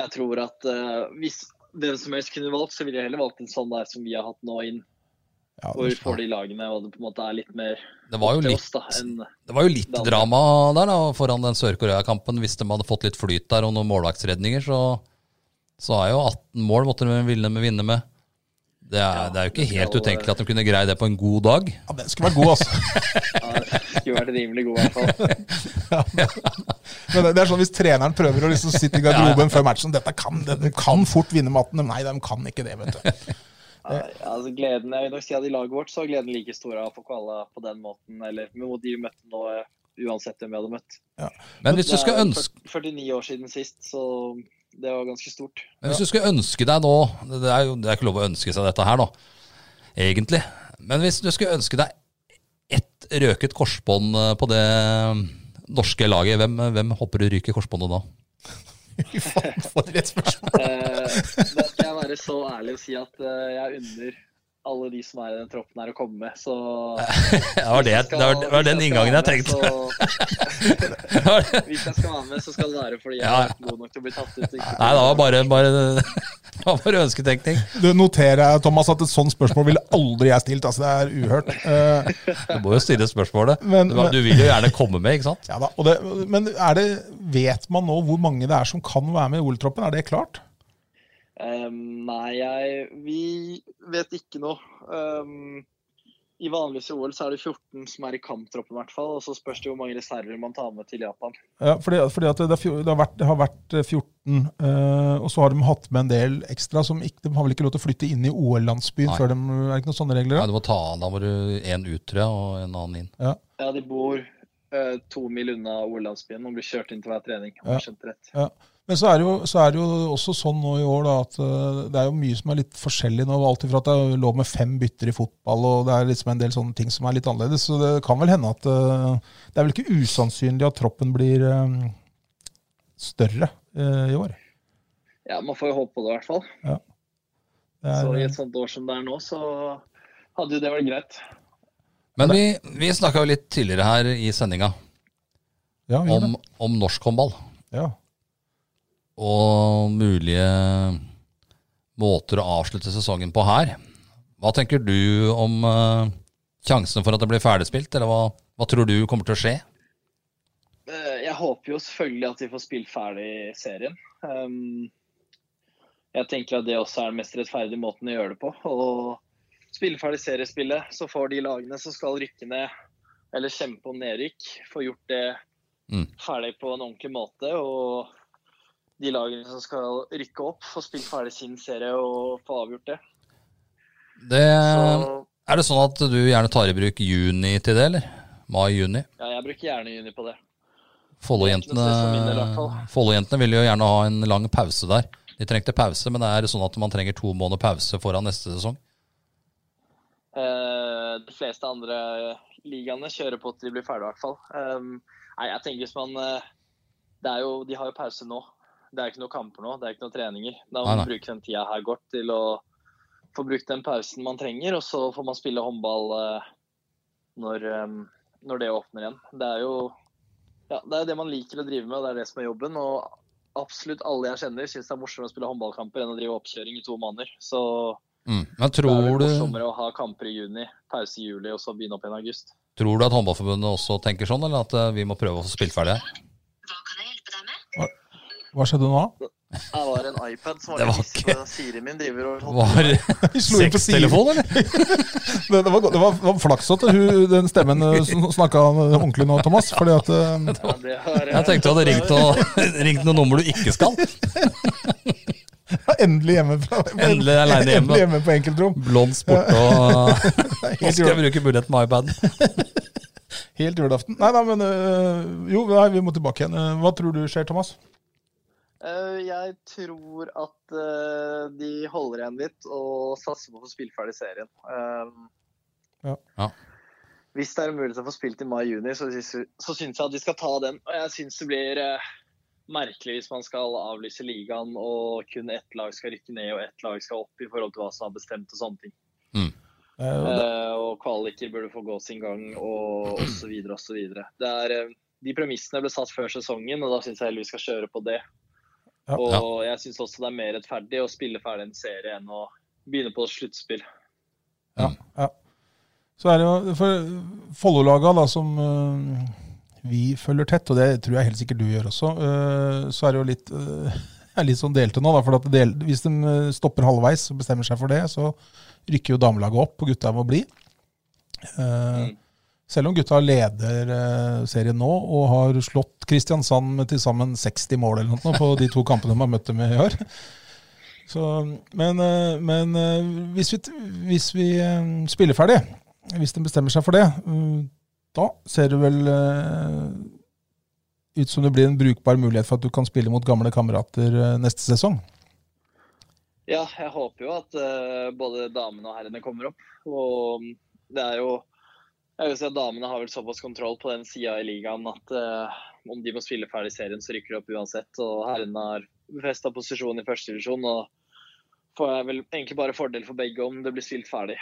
Speaker 4: jeg tror at eh, hvis hvem som helst kunne valgt, så ville jeg heller valgt en sånn der som vi har hatt nå inn.
Speaker 2: Ja,
Speaker 4: Hvor vi får de lagene, og det på en måte er litt mer
Speaker 1: Det var jo
Speaker 4: til
Speaker 1: litt
Speaker 4: oss, da. Enn,
Speaker 1: Det var jo litt
Speaker 4: Det andre.
Speaker 1: drama der da, foran den Sør-Korea-kampen. Hvis de hadde fått litt flyt der og noen målvaktsredninger, så, så er jo 18 mål måtte de vinne med. Vinne med. Det, er,
Speaker 4: Ja,
Speaker 1: det er jo ikke
Speaker 4: det
Speaker 1: helt
Speaker 4: skal-
Speaker 1: utenkelig at de kunne greie det på en god dag.
Speaker 2: ja, den skulle vært god, altså.
Speaker 4: ja, det skulle vært rimelig god, i hvert fall.
Speaker 2: Men det, det er sånn hvis treneren prøver å liksom sitte i garderoben før matchen dette kan, dette kan fort vinne matten. Nei, de kan ikke det, vet du.
Speaker 4: Ja, altså gleden, jeg vil nok si at I laget vårt så er gleden like stor av å få kvala på den måten, eller mot de vi møtte nå, eh, uansett hvem vi hadde møtt.
Speaker 1: Men hvis du
Speaker 4: Det
Speaker 1: skulle
Speaker 4: er
Speaker 1: ønske,
Speaker 4: 49 år siden sist, så det var ganske stort.
Speaker 1: men hvis du skulle ønske deg nå det det er jo det er ikke lov å ønske seg dette her, da, egentlig. Men hvis du skulle ønske deg ett røket korsbånd eh, på det norske laget, hvem, eh, hvem håper du ryker korsbåndet da?
Speaker 2: Fy faen, for et spørsmål.
Speaker 4: Eh, da skal jeg være så ærlig og si at eh, jeg unner alle de som er i den troppen her, å komme med. Så
Speaker 1: Det var, det, det var, det var den inngangen jeg tenkte. Det var det.
Speaker 4: Hvis jeg skal være med, så skal det være fordi jeg
Speaker 1: Ja.
Speaker 4: er ikke god nok til å bli tatt ut. Ikke?
Speaker 1: Nei, det var bare, bare, det var bare ønsketenkning.
Speaker 2: Du noterer, Thomas, at et sånt spørsmål ville aldri jeg stilt. Altså, det er uhørt. Eh,
Speaker 1: Du må jo stille spørsmålet.
Speaker 2: Men-
Speaker 1: du, du vil jo gjerne komme med, ikke sant?
Speaker 2: Ja da, og det, Men er det, vet man nå hvor mange det er som kan være med i OL-troppen? Er det klart?
Speaker 4: Ehm, nei, jeg Vi vet ikke noe. Ehm, I vanligvis i OL så er det 14 som er i kamptroppen, i hvert fall. Og så spørs det hvor mange reserver man tar med til Japan.
Speaker 2: Ja, fordi, fordi at det, er fjo- det, har vært, det har vært eh, 14, eh, og så har de hatt med en del ekstra. som ikke, De har vel ikke lov til å flytte inn i OL-landsbyen
Speaker 1: Nei.
Speaker 2: før de Er det ikke noen sånne regler?
Speaker 1: Ja,
Speaker 2: da?
Speaker 1: du må ta an. Da må du en ut, tror jeg, og en annen inn.
Speaker 4: Ja, de bor eh, to mil unna OL-landsbyen og blir kjørt inn til hver trening. om
Speaker 2: Ja.
Speaker 4: jeg skjønte rett.
Speaker 2: Men så er, det jo, så er det jo også sånn nå i år da, at eh, det er jo mye som er litt forskjellig nå. Alt ifra at det er lov med fem bytter i fotball, og det er liksom en del sånne ting som er litt annerledes. Så det kan vel hende at eh, Det er vel ikke usannsynlig at troppen blir eh, større eh, i år.
Speaker 4: Ja, man får jo håpe på det, i hvert fall.
Speaker 2: Det
Speaker 4: Så i
Speaker 2: er, eh,
Speaker 4: et sånt år som det er nå, så hadde jo det vært greit.
Speaker 1: Men vi, vi snakka jo litt tidligere her i sendinga
Speaker 2: ja, vi gjør det.
Speaker 1: om, om norsk håndball
Speaker 2: ja.
Speaker 1: og mulige måter å avslutte sesongen på her. Hva tenker du om eh, sjansene for at det blir ferdigspilt, eller hva, hva tror du kommer til å skje?
Speaker 4: Eh, Jeg håper jo selvfølgelig at vi får spilt ferdig serien. Ehm, Jeg tenker at det også er den mest rettferdige måten å gjøre det på. Og spille ferdig seriespillet, så får de lagene som skal rykke ned eller kjempe om nedrykk, få gjort det
Speaker 1: Mm.
Speaker 4: ferdig på en ordentlig måte. Og de lagene som skal rykke opp, får spilt ferdig sin serie og få avgjort det.
Speaker 1: Det,
Speaker 4: Så
Speaker 1: er det sånn at du gjerne tar i bruk juni til det, eller? Mai-juni?
Speaker 4: ja, jeg bruker gjerne juni på det.
Speaker 1: Follo-jentene
Speaker 4: Det er ikke noe stress for min del, i hvert fall.
Speaker 1: Follo-jentene ville jo gjerne ha en lang pause der. De trengte pause, men det er sånn at man trenger to måneder pause foran neste sesong.
Speaker 4: Eh, De fleste andre ligaene kjører på til de blir ferdig, i hvert fall. Um, Nei, jeg tenker hvis man eh, det er jo, De har jo pause nå. Det er ikke noen kamper nå, det er ikke noen treninger. Da må
Speaker 1: Nei,
Speaker 4: man
Speaker 1: nei.
Speaker 4: bruke den tida her godt til å få brukt den pausen man trenger, og så får man spille håndball eh, når, eh, når det åpner igjen. Det er jo ja, det, er jo det man liker å drive med, og det er det som er jobben. Og absolutt alle jeg kjenner, syns det er morsommere å spille håndballkamper enn å drive oppkjøring i to måneder. Så
Speaker 1: Mm. Men
Speaker 4: det er vel
Speaker 1: tror du,
Speaker 4: morsommere å ha kamper i juni, pause i juli, og så begynne opp igjen i august.
Speaker 1: tror du at Håndballforbundet også tenker sånn, eller at eh, vi må prøve å få spilt ferdig?
Speaker 5: Hva kan jeg hjelpe deg med?
Speaker 2: Hva skjedde nå?
Speaker 4: Det var en iPad som var,
Speaker 1: Det var
Speaker 4: litt-
Speaker 1: ikke-
Speaker 4: så Siri min driver og
Speaker 1: Var
Speaker 2: Vi slo inn på siden.
Speaker 1: sextelefon, eller?
Speaker 2: Det, det var, godt- det var, det var flaks at hun, den stemmen eh, som snakka ordentlig nå, Thomas. Fordi at eh,
Speaker 4: Ja, det har
Speaker 1: Jeg tenkte du hadde ringt, noe, ringt noen nummer du ikke skal.
Speaker 2: jeg er endelig hjemme fra
Speaker 1: Endelig er jeg alene hjemme.
Speaker 2: Endelig hjemme på enkeltrom.
Speaker 1: Blond sport og Nå skal
Speaker 2: Helt,
Speaker 1: jeg
Speaker 2: jul,
Speaker 1: bruke muligheten med iPaden.
Speaker 2: helt julaften. Nei, nei, men eh, Jo, nei, vi må tilbake igjen. Eh, Hva tror du skjer, Thomas?
Speaker 4: Eh, Jeg tror at eh, de holder igjen litt og satser på å få spilt ferdig serien. Um,
Speaker 2: Ja.
Speaker 1: Ja.
Speaker 4: Hvis det er en mulighet til å få spilt i mai-juni, så, syns- så syns jeg at de skal ta den. Og jeg syns det blir eh, merkelig hvis man skal avlyse ligaen og kun ett lag skal rykke ned og ett lag skal opp i forhold til hva som er bestemt og sånne ting.
Speaker 2: Eh,
Speaker 4: Eh, og kvaliker burde få gå sin gang, og osv. osv. eh, De premissene ble satt før sesongen, og da syns jeg heller vi skal kjøre på det.
Speaker 2: Ja.
Speaker 4: Og jeg syns også det er mer rettferdig å spille ferdig en serie enn å begynne på sluttspill.
Speaker 2: Ja, ja. Så er det jo for Follo-laga da, som øh, vi følger tett, og det tror jeg helt sikkert du gjør også, øh, så er det jo litt, øh, er litt sånn delte nå. da, for at del, Hvis de øh, stopper halvveis og bestemmer seg for det, så rykker jo damelaget opp, og gutta må bli. Eh,
Speaker 4: Mm.
Speaker 2: Selv om gutta leder eh, serien nå og har slått Kristiansand med til sammen 60 mål eller noe nå på de to kampene de har møtt dem i år. Så, men eh, men eh, hvis, vi, t- hvis vi eh, spiller ferdig, hvis de bestemmer seg for det, mm, da ser det vel eh, ut som det blir en brukbar mulighet for at du kan spille mot gamle kamerater eh, neste sesong.
Speaker 4: Ja, jeg håper jo at eh, både damene og herrene kommer opp. Og det er jo Jeg vil si at damene har vel såpass kontroll på den sida i ligaen at eh, om de må spille ferdig serien, så rykker de opp uansett. Og herrene har befesta posisjon i første divisjon. Og får jeg vel egentlig bare fordel for begge om det blir spilt ferdig.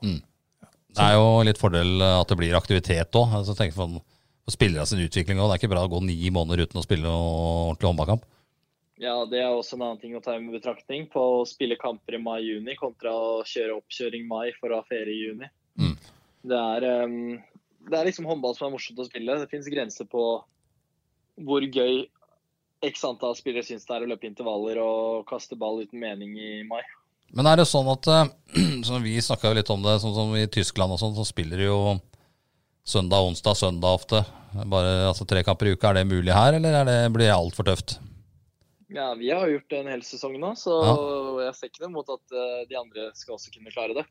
Speaker 1: Det er jo litt fordel eh, at det blir aktivitet òg. Altså, tenk for, for spillere sin utvikling òg. Det er ikke bra å gå ni måneder uten å spille noe ordentlig håndballkamp.
Speaker 4: Ja, det er også en annen ting å ta med betraktning på å spille kamper i mai-juni kontra å kjøre oppkjøring i mai for å ha ferie i juni.
Speaker 1: Mm.
Speaker 4: Det, er, em, det er liksom håndball som er morsomt å spille. Det fins grenser på hvor gøy x antall spillere syns det er å løpe intervaller og kaste ball uten mening i mai.
Speaker 1: Men er det sånn at eh, som Vi snakka litt om det, sånn som i Tyskland og sånn, så spiller de jo søndag, onsdag, søndag ofte. Bare altså, tre kamper i uka. Er det mulig her, eller er det, blir det altfor tøft?
Speaker 4: Ja, Vi har jo gjort det en hel sesong nå, så jeg ser ikke noe mot at eh, de andre skal også kunne klare det.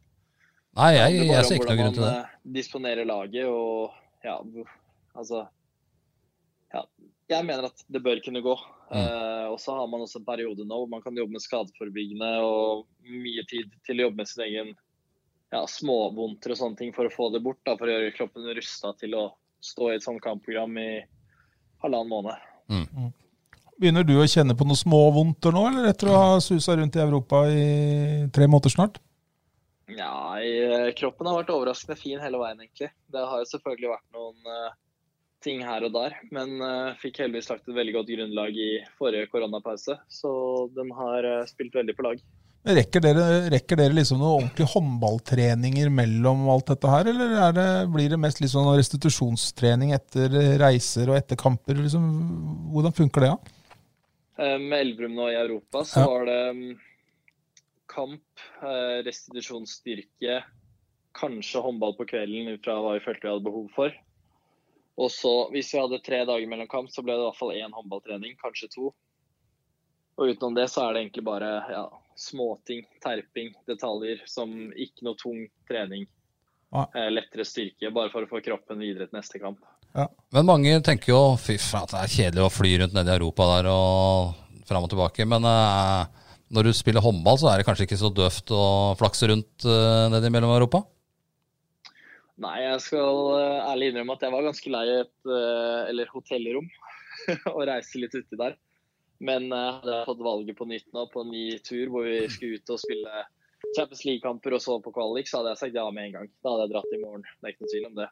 Speaker 1: Nei, jeg,
Speaker 4: Det
Speaker 1: jeg,
Speaker 4: handler bare om
Speaker 1: ser ikke noen grunn til det.
Speaker 4: Hvordan man eh, disponerer laget og ja, hvor- altså ja, Jeg mener at det bør kunne gå.
Speaker 1: Mm.
Speaker 4: Eh, og så har man også en periode nå hvor man kan jobbe med skadeforebyggende og mye tid til å jobbe med sin egen ja, småvondter og sånne ting for å få det bort. Da, for å gjøre kroppen rusta til å stå i et sånt kampprogram i halvannen måned.
Speaker 2: Begynner du å kjenne på noe småvondter nå, eller etter å ha susa rundt i Europa i tre måneder snart?
Speaker 4: Ja, i- eh, kroppen har vært overraskende fin hele veien, egentlig. Det har jo selvfølgelig vært noen eh, ting her og der, men eh, fikk heldigvis lagt et veldig godt grunnlag i forrige koronapause, så den har eh, spilt veldig på lag.
Speaker 2: Men Rekker dere, rekker dere liksom noen ordentlige håndballtreninger mellom alt dette her, eller er det, blir det mest litt sånn restitusjonstrening etter reiser og etter kamper? Liksom, hvordan funker det? Ja?
Speaker 4: Eh, Med Elverum nå i Europa så
Speaker 2: Ja.
Speaker 4: var det mm, kamp, eh, restitusjonsstyrke, kanskje håndball på kvelden ut fra hva vi følte vi hadde behov for. Og så, hvis vi hadde tre dager mellom kamp, så ble det i hvert fall én håndballtrening, kanskje to. Og utenom det så er det egentlig bare ja, småting, terping, detaljer som ikke noe tung trening.
Speaker 2: Ja.
Speaker 4: Eh, Lettere styrke, bare for å få kroppen videre til neste kamp.
Speaker 1: Men mange tenker jo fy faen, det er kjedelig å fly rundt nede i Europa der og fram og tilbake. Men eh, når du spiller håndball, så er det kanskje ikke så døvt å flakse rundt eh, nede mellom Europa?
Speaker 4: Nei, jeg skal eh, ærlig innrømme at jeg var ganske lei et eh, eller hotellrom og reise litt uti der. Men eh, hadde jeg fått valget på nytt nå på en ny tur hvor vi skulle ut og spille Champions League-kamper og så på kvalik, så hadde jeg sagt ja med en gang. Da hadde jeg dratt i morgen. Det er ikke noe tvil om det.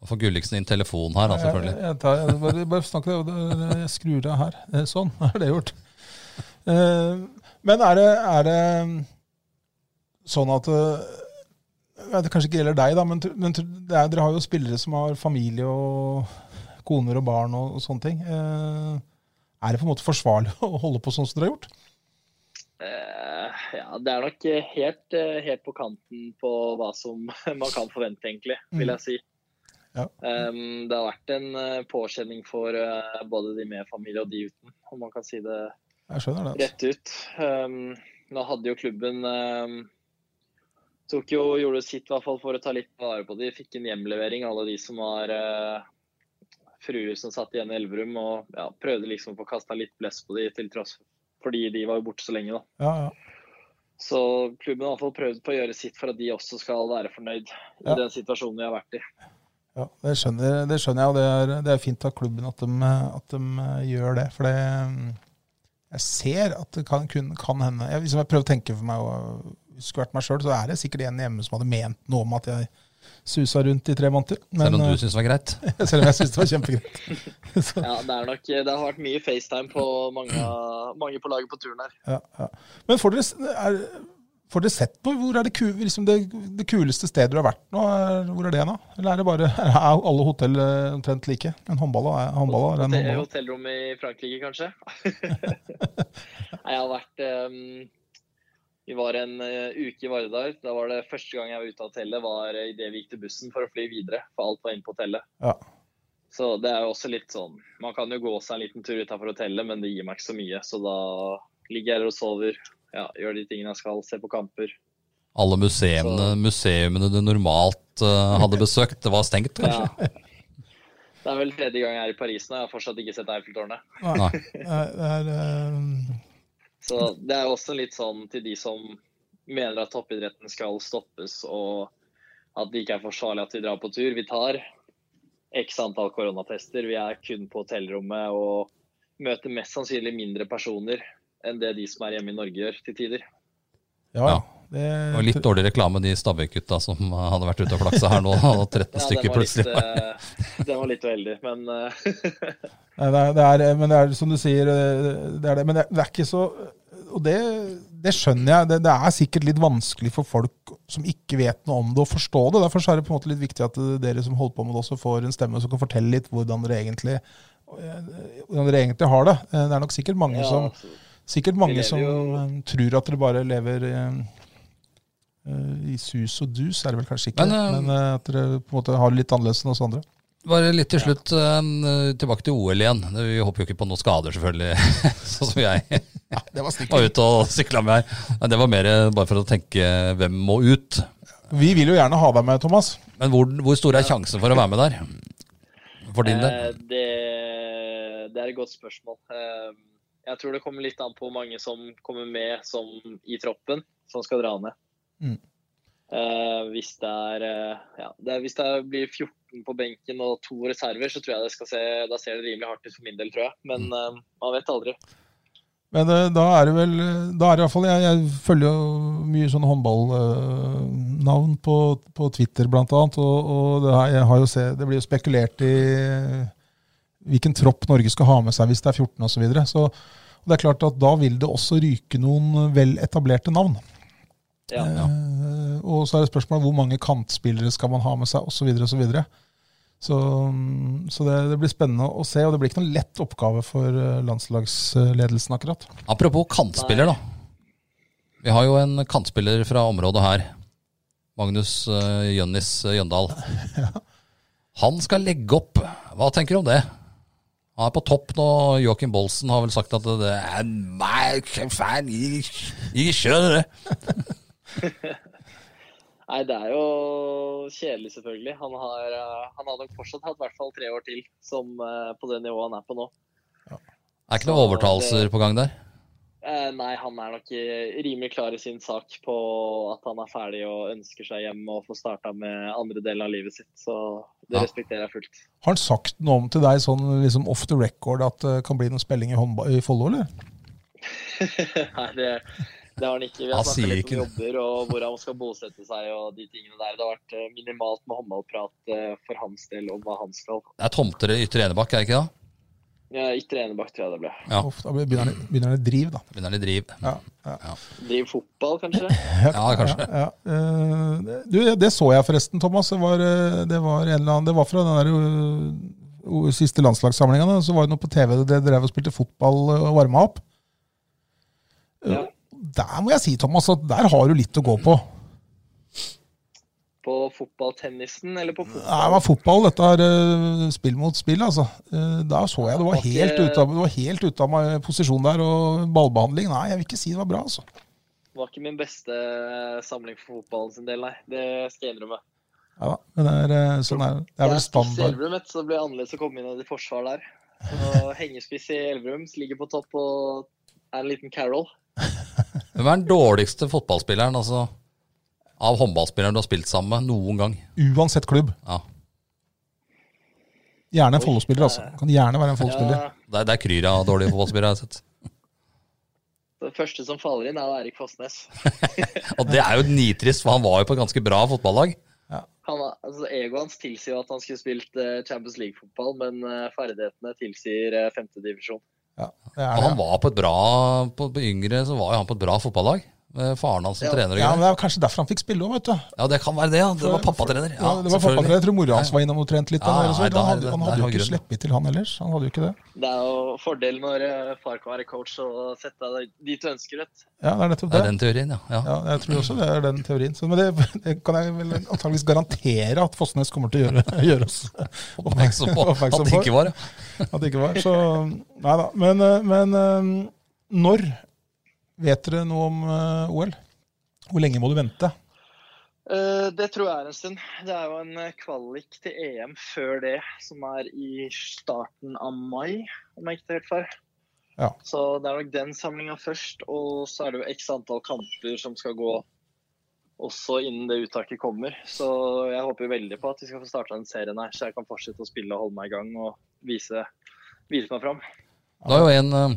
Speaker 1: Nå får Gulliksen inn telefon her, da, selvfølgelig.
Speaker 2: Jeg, jeg tar, jeg bare, bare snakk det, og det- jeg skrur av her. Eh, Sånn, da er det gjort. Eh, Men er det, er det sånn at eh, jeg vet, Det kanskje ikke gjelder deg, da, men, tr- men tr- det er, dere har jo spillere som har familie og koner og barn og, og sånne ting. Eh, Er det på en måte forsvarlig å holde på sånn som dere har gjort?
Speaker 4: Eh, ja, det er nok eh, helt, eh, helt på kanten på hva som man kan forvente, egentlig, vil jeg si.
Speaker 2: Ja.
Speaker 4: Em, det har vært en eh, påkjenning for eh, både de med familie og de uten, om man kan si det
Speaker 2: Jeg skjønner det. altså.
Speaker 4: rett ut. Um, nå hadde jo klubben um, tok jo, gjorde sitt i hvert fall for å ta litt vare på de. Fikk en hjemlevering, alle de som var uh, fruer som satt igjen i Elverum. Og ja, prøvde liksom å få kasta litt blest på de, til tross fordi de var jo borte så lenge. da.
Speaker 2: Ja, ja.
Speaker 4: Så klubben har i hvert fall prøvd på å gjøre sitt for at de også skal være fornøyd
Speaker 2: Ja.
Speaker 4: i den situasjonen vi har vært i.
Speaker 2: Ja, det skjønner, det skjønner jeg, og det er, det er fint av klubben at de, at de eh, gjør det. For det mm, Jeg ser at det kan, kun, kan hende jeg, Hvis jeg prøver å tenke for meg, og hvis det skulle vært meg sjøl, så er det sikkert en hjemme som hadde ment noe om at jeg susa rundt i tre måneder. Men,
Speaker 1: Selv om du syns det var greit.
Speaker 2: eh, selv om jeg syntes det var kjempegreit. Så,
Speaker 4: Ja, Det er nok, det har vært mye FaceTime på mange, mange på laget på turen her.
Speaker 2: ja, ja. Men får dere, s- er, får dere sett på hvor er det, ku, liksom det, det kuleste stedet du har vært nå? Er, hvor er det nå? Eller er det bare er alle hotell eh, omtrent like? En håndball er håndball. er en
Speaker 4: Hotell,
Speaker 2: håndball.
Speaker 4: hotellrom i Frankrike, kanskje? Nei, jeg har vært ehm, Vi var en eh, uke i Vardar. Da var det første gang jeg var ute av hotellet, var eh, i det vi gikk til bussen for å fly videre. For alt var inne på hotellet.
Speaker 2: Ja.
Speaker 4: Så det er jo også litt sånn Man kan jo gå seg en liten tur utafor hotellet, men det gir meg ikke så mye. Så da ligger jeg her og sover. Ja, gjør de tingene jeg skal, se på kamper.
Speaker 1: Alle museene, museene du normalt eh, hadde besøkt, det var stengt, kanskje?
Speaker 4: Ja. Det er vel tredje gang jeg er i Paris nå. Jeg har fortsatt ikke sett Eiffeltårnet.
Speaker 1: Nei.
Speaker 2: Nei, det er, eh,
Speaker 4: Så det er jo også litt sånn til de som mener at toppidretten skal stoppes, og at det ikke er forsvarlig at vi drar på tur. Vi tar x antall koronatester. Vi er kun på hotellrommet og møter mest sannsynlig mindre personer enn det de som er hjemme i Norge gjør til tider.
Speaker 2: ja, ja.
Speaker 1: Ja.
Speaker 2: Det,
Speaker 1: Og litt dårlig reklame, de Stabæk-gutta som eh, hadde vært ute og flaksa her nå, og 13
Speaker 4: den
Speaker 1: stykker
Speaker 4: var litt,
Speaker 1: plutselig.
Speaker 4: eh, den var litt uheldig, men eh,
Speaker 2: Nei, det, er, det er, men det er som du sier, eh, det er det. Men det, det er ikke så Og det, det skjønner jeg. Det, det er sikkert litt vanskelig for folk som ikke vet noe om det, å forstå det. Derfor så er det på en måte litt viktig at dere som holder på med det, også får en stemme som kan fortelle litt hvordan dere egentlig, eh, hvordan dere egentlig har det. Eh, Det er nok sikkert mange
Speaker 4: ja,
Speaker 2: som
Speaker 4: så-
Speaker 2: Sikkert mange
Speaker 4: lever
Speaker 2: som
Speaker 4: jo-
Speaker 2: eh, tror at dere bare lever eh, eh, i sus og dus, er det vel kanskje ikke.
Speaker 1: Men,
Speaker 2: Men,
Speaker 1: eh,
Speaker 2: eh, at dere på en måte har det litt annerledes enn oss andre.
Speaker 1: Bare litt til slutt, eh, tilbake til OL igjen. Vi håper jo ikke på noen skader, selvfølgelig, sånn som jeg
Speaker 2: Det var
Speaker 1: var ute og sykla med her. Men det var mer eh, bare for å tenke hvem må ut.
Speaker 2: Vi vil jo gjerne ha deg med, Thomas.
Speaker 1: Men hvor, hvor stor er sjansen for å være med der? For din del?
Speaker 4: Eh, Det, det er et godt spørsmål. Eh, Jeg tror det kommer litt an på hvor mange som kommer med som, i troppen, som skal dra ned.
Speaker 2: Mm.
Speaker 4: Eh, Hvis, det er, eh, ja, det er, hvis det er, blir 14 på benken og to reserver, så tror jeg det skal se, da ser det rimelig hardt ut for min del, tror jeg. Men eh, man vet aldri.
Speaker 2: Men eh, da er det vel eh, Da er det i hvert fall Jeg, jeg følger jo mye sånne håndballnavn på, på Twitter, blant annet. Og, og det, her, jeg har jo se, det blir jo spekulert i eh, hvilken tropp Norge skal ha med seg hvis det er 14 osv. Så, videre. så og det er klart at da vil det også ryke noen eh, vel etablerte navn.
Speaker 4: Ja.
Speaker 2: Eh, og så er det spørsmålet hvor mange kantspillere skal man ha med seg, osv. Så, videre. så, mm, så det, det blir spennende å se, og det blir ikke noen lett oppgave for eh, landslagsledelsen akkurat.
Speaker 1: Apropos kantspiller, da. Vi har jo en kantspiller fra området her. Magnus uh, Jønnis eh, Jøndal. Han skal legge opp. Hva tenker du om det? Han er på topp nå. Joakim Bolsen har vel sagt at det er meg, fan, jeg, jeg skjønner det.
Speaker 4: Nei, det er jo kjedelig, selvfølgelig. Han har, eh, han har nok fortsatt hatt i hvert fall tre år til som, eh, på det nivået han er på nå.
Speaker 1: Er ikke noen overtalelser på gang der?
Speaker 4: Eh, Eh, nei, han er nok i- rimelig klar i sin sak på at han er ferdig og ønsker seg hjem og får starta med andre deler av livet sitt. Så det
Speaker 1: Ja.
Speaker 4: respekterer jeg fullt.
Speaker 2: Har han sagt noe om til deg sånn liksom off the record at det kan bli noe spilling i, håndba- i Follo, eller?
Speaker 4: nei, det, det har han ikke. Vi
Speaker 1: Han
Speaker 4: har snakka
Speaker 1: sier
Speaker 4: litt om
Speaker 1: ikke
Speaker 4: jobber og hvor han skal bosette seg og de tingene der. Det har vært eh, minimalt med håndballprat eh, for hans del om hva han skal.
Speaker 1: Det er tomter i Ytre Enebakk, er det ikke det?
Speaker 4: Ja, Ytre Enebakk tror jeg det ble.
Speaker 1: Ja.
Speaker 2: Uff, da begynner han i- begynner han i driv, da.
Speaker 1: Begynner litt driv.
Speaker 2: Ja, ja.
Speaker 4: Driver fotball, kanskje?
Speaker 1: Ja, kanskje.
Speaker 2: Ja, ja. Eh, det- Du, det så jeg forresten, Thomas. Det var, eh, det var, en eller annen, det var fra den der, eh, o- siste landslagssamlinga. da. Så var det noe på TV det drev og spilte fotball eh, og varma opp. Eh,
Speaker 4: Ja.
Speaker 2: Der må jeg si, Thomas, at der har du litt å gå på.
Speaker 4: På fotballtennisen eller på
Speaker 2: Nei, Det var
Speaker 4: fotball?
Speaker 2: fotball, dette er eh, spill mot spill, altså. Eh, Da så jeg det var
Speaker 4: Ok.
Speaker 2: helt ute av, det var helt ute av meg- eh, posisjon der, og ballbehandling Nei, jeg vil ikke si det var bra, altså.
Speaker 4: Det var ikke min beste eh, samling for fotballen sin del, nei. Det skal jeg innrømme.
Speaker 2: Ja, da, men det er, eh, sånn er, det er vel
Speaker 4: Jeg er spiss i
Speaker 2: standard.
Speaker 4: Elverum, vet du, så det blir annerledes å komme inn i det forsvar der. Så hengespiss i Elverum så ligger på topp og er en liten Carol.
Speaker 1: Hvem er den dårligste fotballspilleren altså, av håndballspilleren du har spilt sammen med noen gang?
Speaker 2: Uansett klubb.
Speaker 1: Ja,
Speaker 2: Gjerne en Follo-spiller, altså. Kan gjerne være en Follo-spiller.
Speaker 4: Ja,
Speaker 1: Det er, det er kryr av dårlige fotballspillere jeg har sett.
Speaker 4: det første som faller inn, er Erik Fossnes.
Speaker 1: Og det er jo nitrist, for han var jo på et ganske bra fotballag.
Speaker 4: Han, er- altså, egoet hans tilsier jo at han skulle spilt eh, Champions League-fotball, men eh, ferdighetene tilsier eh, femtedivisjon.
Speaker 2: Ja, det
Speaker 1: Og
Speaker 2: er
Speaker 1: han
Speaker 2: det.
Speaker 1: var på et bra På, på yngre så var jo han på et bra fotballag. Med faren hans som
Speaker 4: Ja.
Speaker 1: trener og
Speaker 2: Ja,
Speaker 1: greier.
Speaker 2: men det er kanskje derfor han fikk spille òg, vet du.
Speaker 1: Ja, det kan være det. Ja. Det var pappatrener.
Speaker 2: Ja, det var pappa, jeg tror mora hans var innom og trent
Speaker 1: Ja,
Speaker 2: litt. da, eller så.
Speaker 1: nei, da
Speaker 2: han
Speaker 1: er
Speaker 2: hadde,
Speaker 1: det-
Speaker 2: han
Speaker 1: der
Speaker 2: hadde jo
Speaker 1: har
Speaker 2: ikke
Speaker 1: grunnen.
Speaker 2: sluppet til, han ellers. Han hadde jo ikke det.
Speaker 4: Det er jo fordelen når eh, far kan være coach og sette deg dit du ønsker, vet du.
Speaker 2: Ja, det er nettopp
Speaker 1: Det
Speaker 2: det.
Speaker 1: er den teorien, ja. ja.
Speaker 2: Ja, jeg tror også det er den teorien. Så, men det, det kan jeg vel antageligvis garantere at Fossnes kommer til å gjøre, gjøre oss
Speaker 1: Oppmerksom på at
Speaker 2: oppmerksom
Speaker 1: det
Speaker 2: på
Speaker 1: ikke var ja.
Speaker 2: at det ikke var. Så nei da. Men, eh, men eh, når vet dere noe om eh, OL? Hvor lenge må du vente?
Speaker 4: Eh, Det tror jeg er en stund. Det er jo en eh, kvalik til EM før det, som er i starten av mai, om jeg ikke tar helt feil.
Speaker 2: Ja.
Speaker 4: Så det er nok den samlinga først, og så er det jo x antall kamper som skal gå også innen det uttaket kommer. Så jeg håper jo veldig på at vi skal få starta den serien her, så jeg kan fortsette å spille og holde meg i gang og vise, vise meg fram.
Speaker 1: Du har jo en, eh,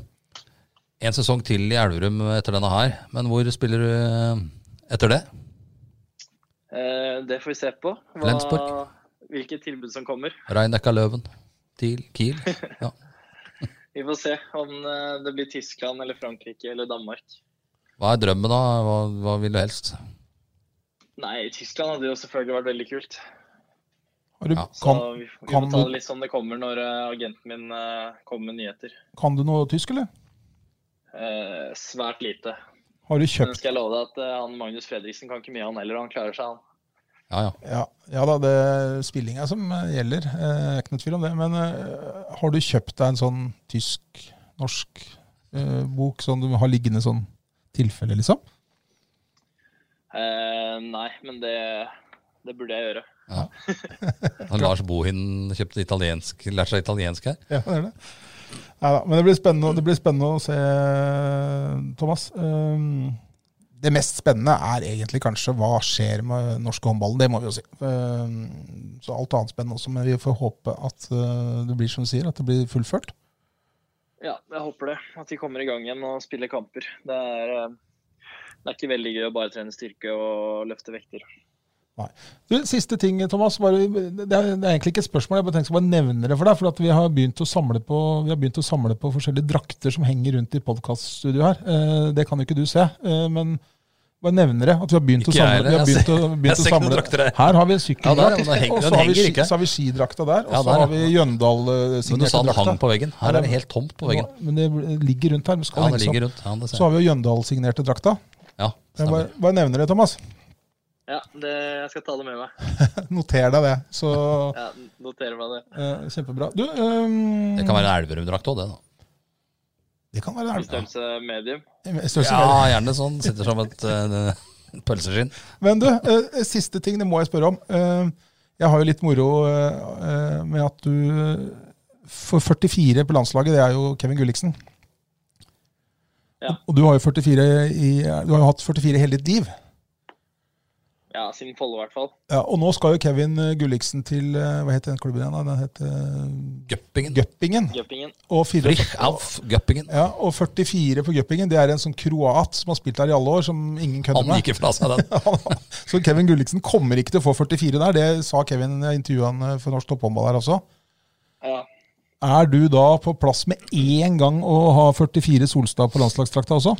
Speaker 1: en sesong til i Elverum etter denne her, men hvor spiller du eh, etter det?
Speaker 4: Eh, Det får vi se på.
Speaker 1: Flensborg.
Speaker 4: hvilket tilbud som kommer.
Speaker 1: Reinekka Løven, TIL, Kiel? Ja.
Speaker 4: Vi får se om eh, det blir Tyskland eller Frankrike eller Danmark.
Speaker 1: Hva er drømmen, da? Hva, hva vil du helst?
Speaker 4: Nei, Tyskland hadde jo selvfølgelig vært veldig kult.
Speaker 2: Har du,
Speaker 1: Ja.
Speaker 4: Så
Speaker 2: kan,
Speaker 4: vi, vi
Speaker 2: kan
Speaker 4: må ta
Speaker 2: du-
Speaker 4: det litt som det kommer når eh, agenten min eh, kommer med nyheter.
Speaker 2: kan du noe tysk, eller?
Speaker 4: Eh, svært lite.
Speaker 2: Har du
Speaker 4: Men
Speaker 2: kjøpt
Speaker 4: skal jeg love deg at eh, han Magnus Fredriksen kan ikke mye, han heller. og Han klarer seg, han.
Speaker 1: Ja, ja.
Speaker 2: Ja, ja da, det er spillinga som eh, gjelder. Eh, jeg er ikke noe tvil om det. Men eh, har du kjøpt deg en sånn tysk-norsk eh, bok, sånn du har liggende sånn tilfelle, liksom?
Speaker 4: Eh, nei, men det, det burde jeg gjøre.
Speaker 1: Han Lars Bohin kjøpte italiensk, lærte seg italiensk her.
Speaker 2: Ja, det er det. Neida, men det blir, spennende, det blir spennende å se, Thomas. Um, det mest spennende er egentlig kanskje hva skjer med den norske håndballen. Det må vi jo si. Um, så alt annet spennende også, men vi får håpe at eh, det blir som du sier, at det blir fullført.
Speaker 4: Ja, jeg håper det. At de kommer i gang igjen og spiller kamper. Det er, eh, det er ikke veldig gøy å bare trene styrke og løfte vekter.
Speaker 2: Du, siste ting, Thomas. Bare, det, er, det er egentlig ikke et spørsmål, jeg bare tenker jeg skal bare nevne det for deg. For at vi har begynt å samle på, vi har begynt å samle på forskjellige drakter som henger rundt i podkaststudioet her. Eh, det kan jo ikke du se, eh, men bare nevner det. At vi har begynt
Speaker 1: Ikke
Speaker 2: å samle.
Speaker 1: jeg heller.
Speaker 2: Vi
Speaker 1: Jeg
Speaker 2: har begynt å,
Speaker 1: jeg
Speaker 2: begynt
Speaker 1: ser
Speaker 2: å
Speaker 1: ikke noen
Speaker 2: samle.
Speaker 1: drakter her.
Speaker 2: Her har vi en
Speaker 1: Ja, der,
Speaker 2: sykkeldrakt,
Speaker 1: men den henger-
Speaker 2: og så
Speaker 1: den
Speaker 2: har, vi,
Speaker 1: henger
Speaker 2: ski-
Speaker 1: ikke.
Speaker 2: så har vi skidrakta der. Og
Speaker 1: Ja,
Speaker 2: så
Speaker 1: der,
Speaker 2: har vi eh,
Speaker 1: ja. Men du sa den hang
Speaker 2: Jøndal-signerte
Speaker 1: på veggen. Her er det helt tomt på veggen.
Speaker 2: Men det ligger rundt her. Men skal
Speaker 1: Ja, det sånn.
Speaker 2: henges opp.
Speaker 1: ligger rundt. Ja, det
Speaker 2: Så
Speaker 1: ser jeg.
Speaker 2: har vi jo Jøndal-signerte drakta.
Speaker 1: Ja,
Speaker 2: Jeg bare,
Speaker 1: stemmer.
Speaker 2: bare nevner det, Thomas.
Speaker 4: Ja, det, jeg skal ta det med meg.
Speaker 2: Noter deg det. Så
Speaker 4: Ja, noterer meg det.
Speaker 2: eh, kjempebra. Du, ehm,
Speaker 1: Det kan være en Elverum-drakt òg, det. da.
Speaker 2: det kan være det.
Speaker 4: Størrelse medium.
Speaker 2: Største
Speaker 1: Ja,
Speaker 2: glede.
Speaker 1: gjerne sånn. Sitter som et eh, pølseskinn.
Speaker 2: Men du, eh, siste ting, det må jeg spørre om. Eh, jeg har jo litt moro eh, eh, med at du eh, For 44 på landslaget, det er jo Kevin Gulliksen.
Speaker 4: Ja.
Speaker 2: Og du har jo 44 i, du har jo hatt 44 hele ditt liv.
Speaker 4: Ja, siden Follo, i hvert fall.
Speaker 2: Ja, og nå skal jo Kevin eh, Gulliksen til eh, Hva het den klubben igjen? da? Den het eh,
Speaker 1: Guppingen.
Speaker 2: Gøppingen.
Speaker 4: Gøppingen.
Speaker 2: Og, fire,
Speaker 1: Frich auf Guppingen.
Speaker 2: ja, og 44 på Gøppingen. Det er en sånn kroat som har spilt der i alle år, som ingen kødder
Speaker 1: Han
Speaker 2: med.
Speaker 1: gikk ikke fra seg den.
Speaker 2: Så Kevin Gulliksen kommer ikke til å få 44 der. Det sa Kevin jeg intervjua han eh, for norsk topphåndball her også.
Speaker 4: Ja.
Speaker 2: Er du da på plass med én gang å ha 44 Solstad på landslagsdrakta også?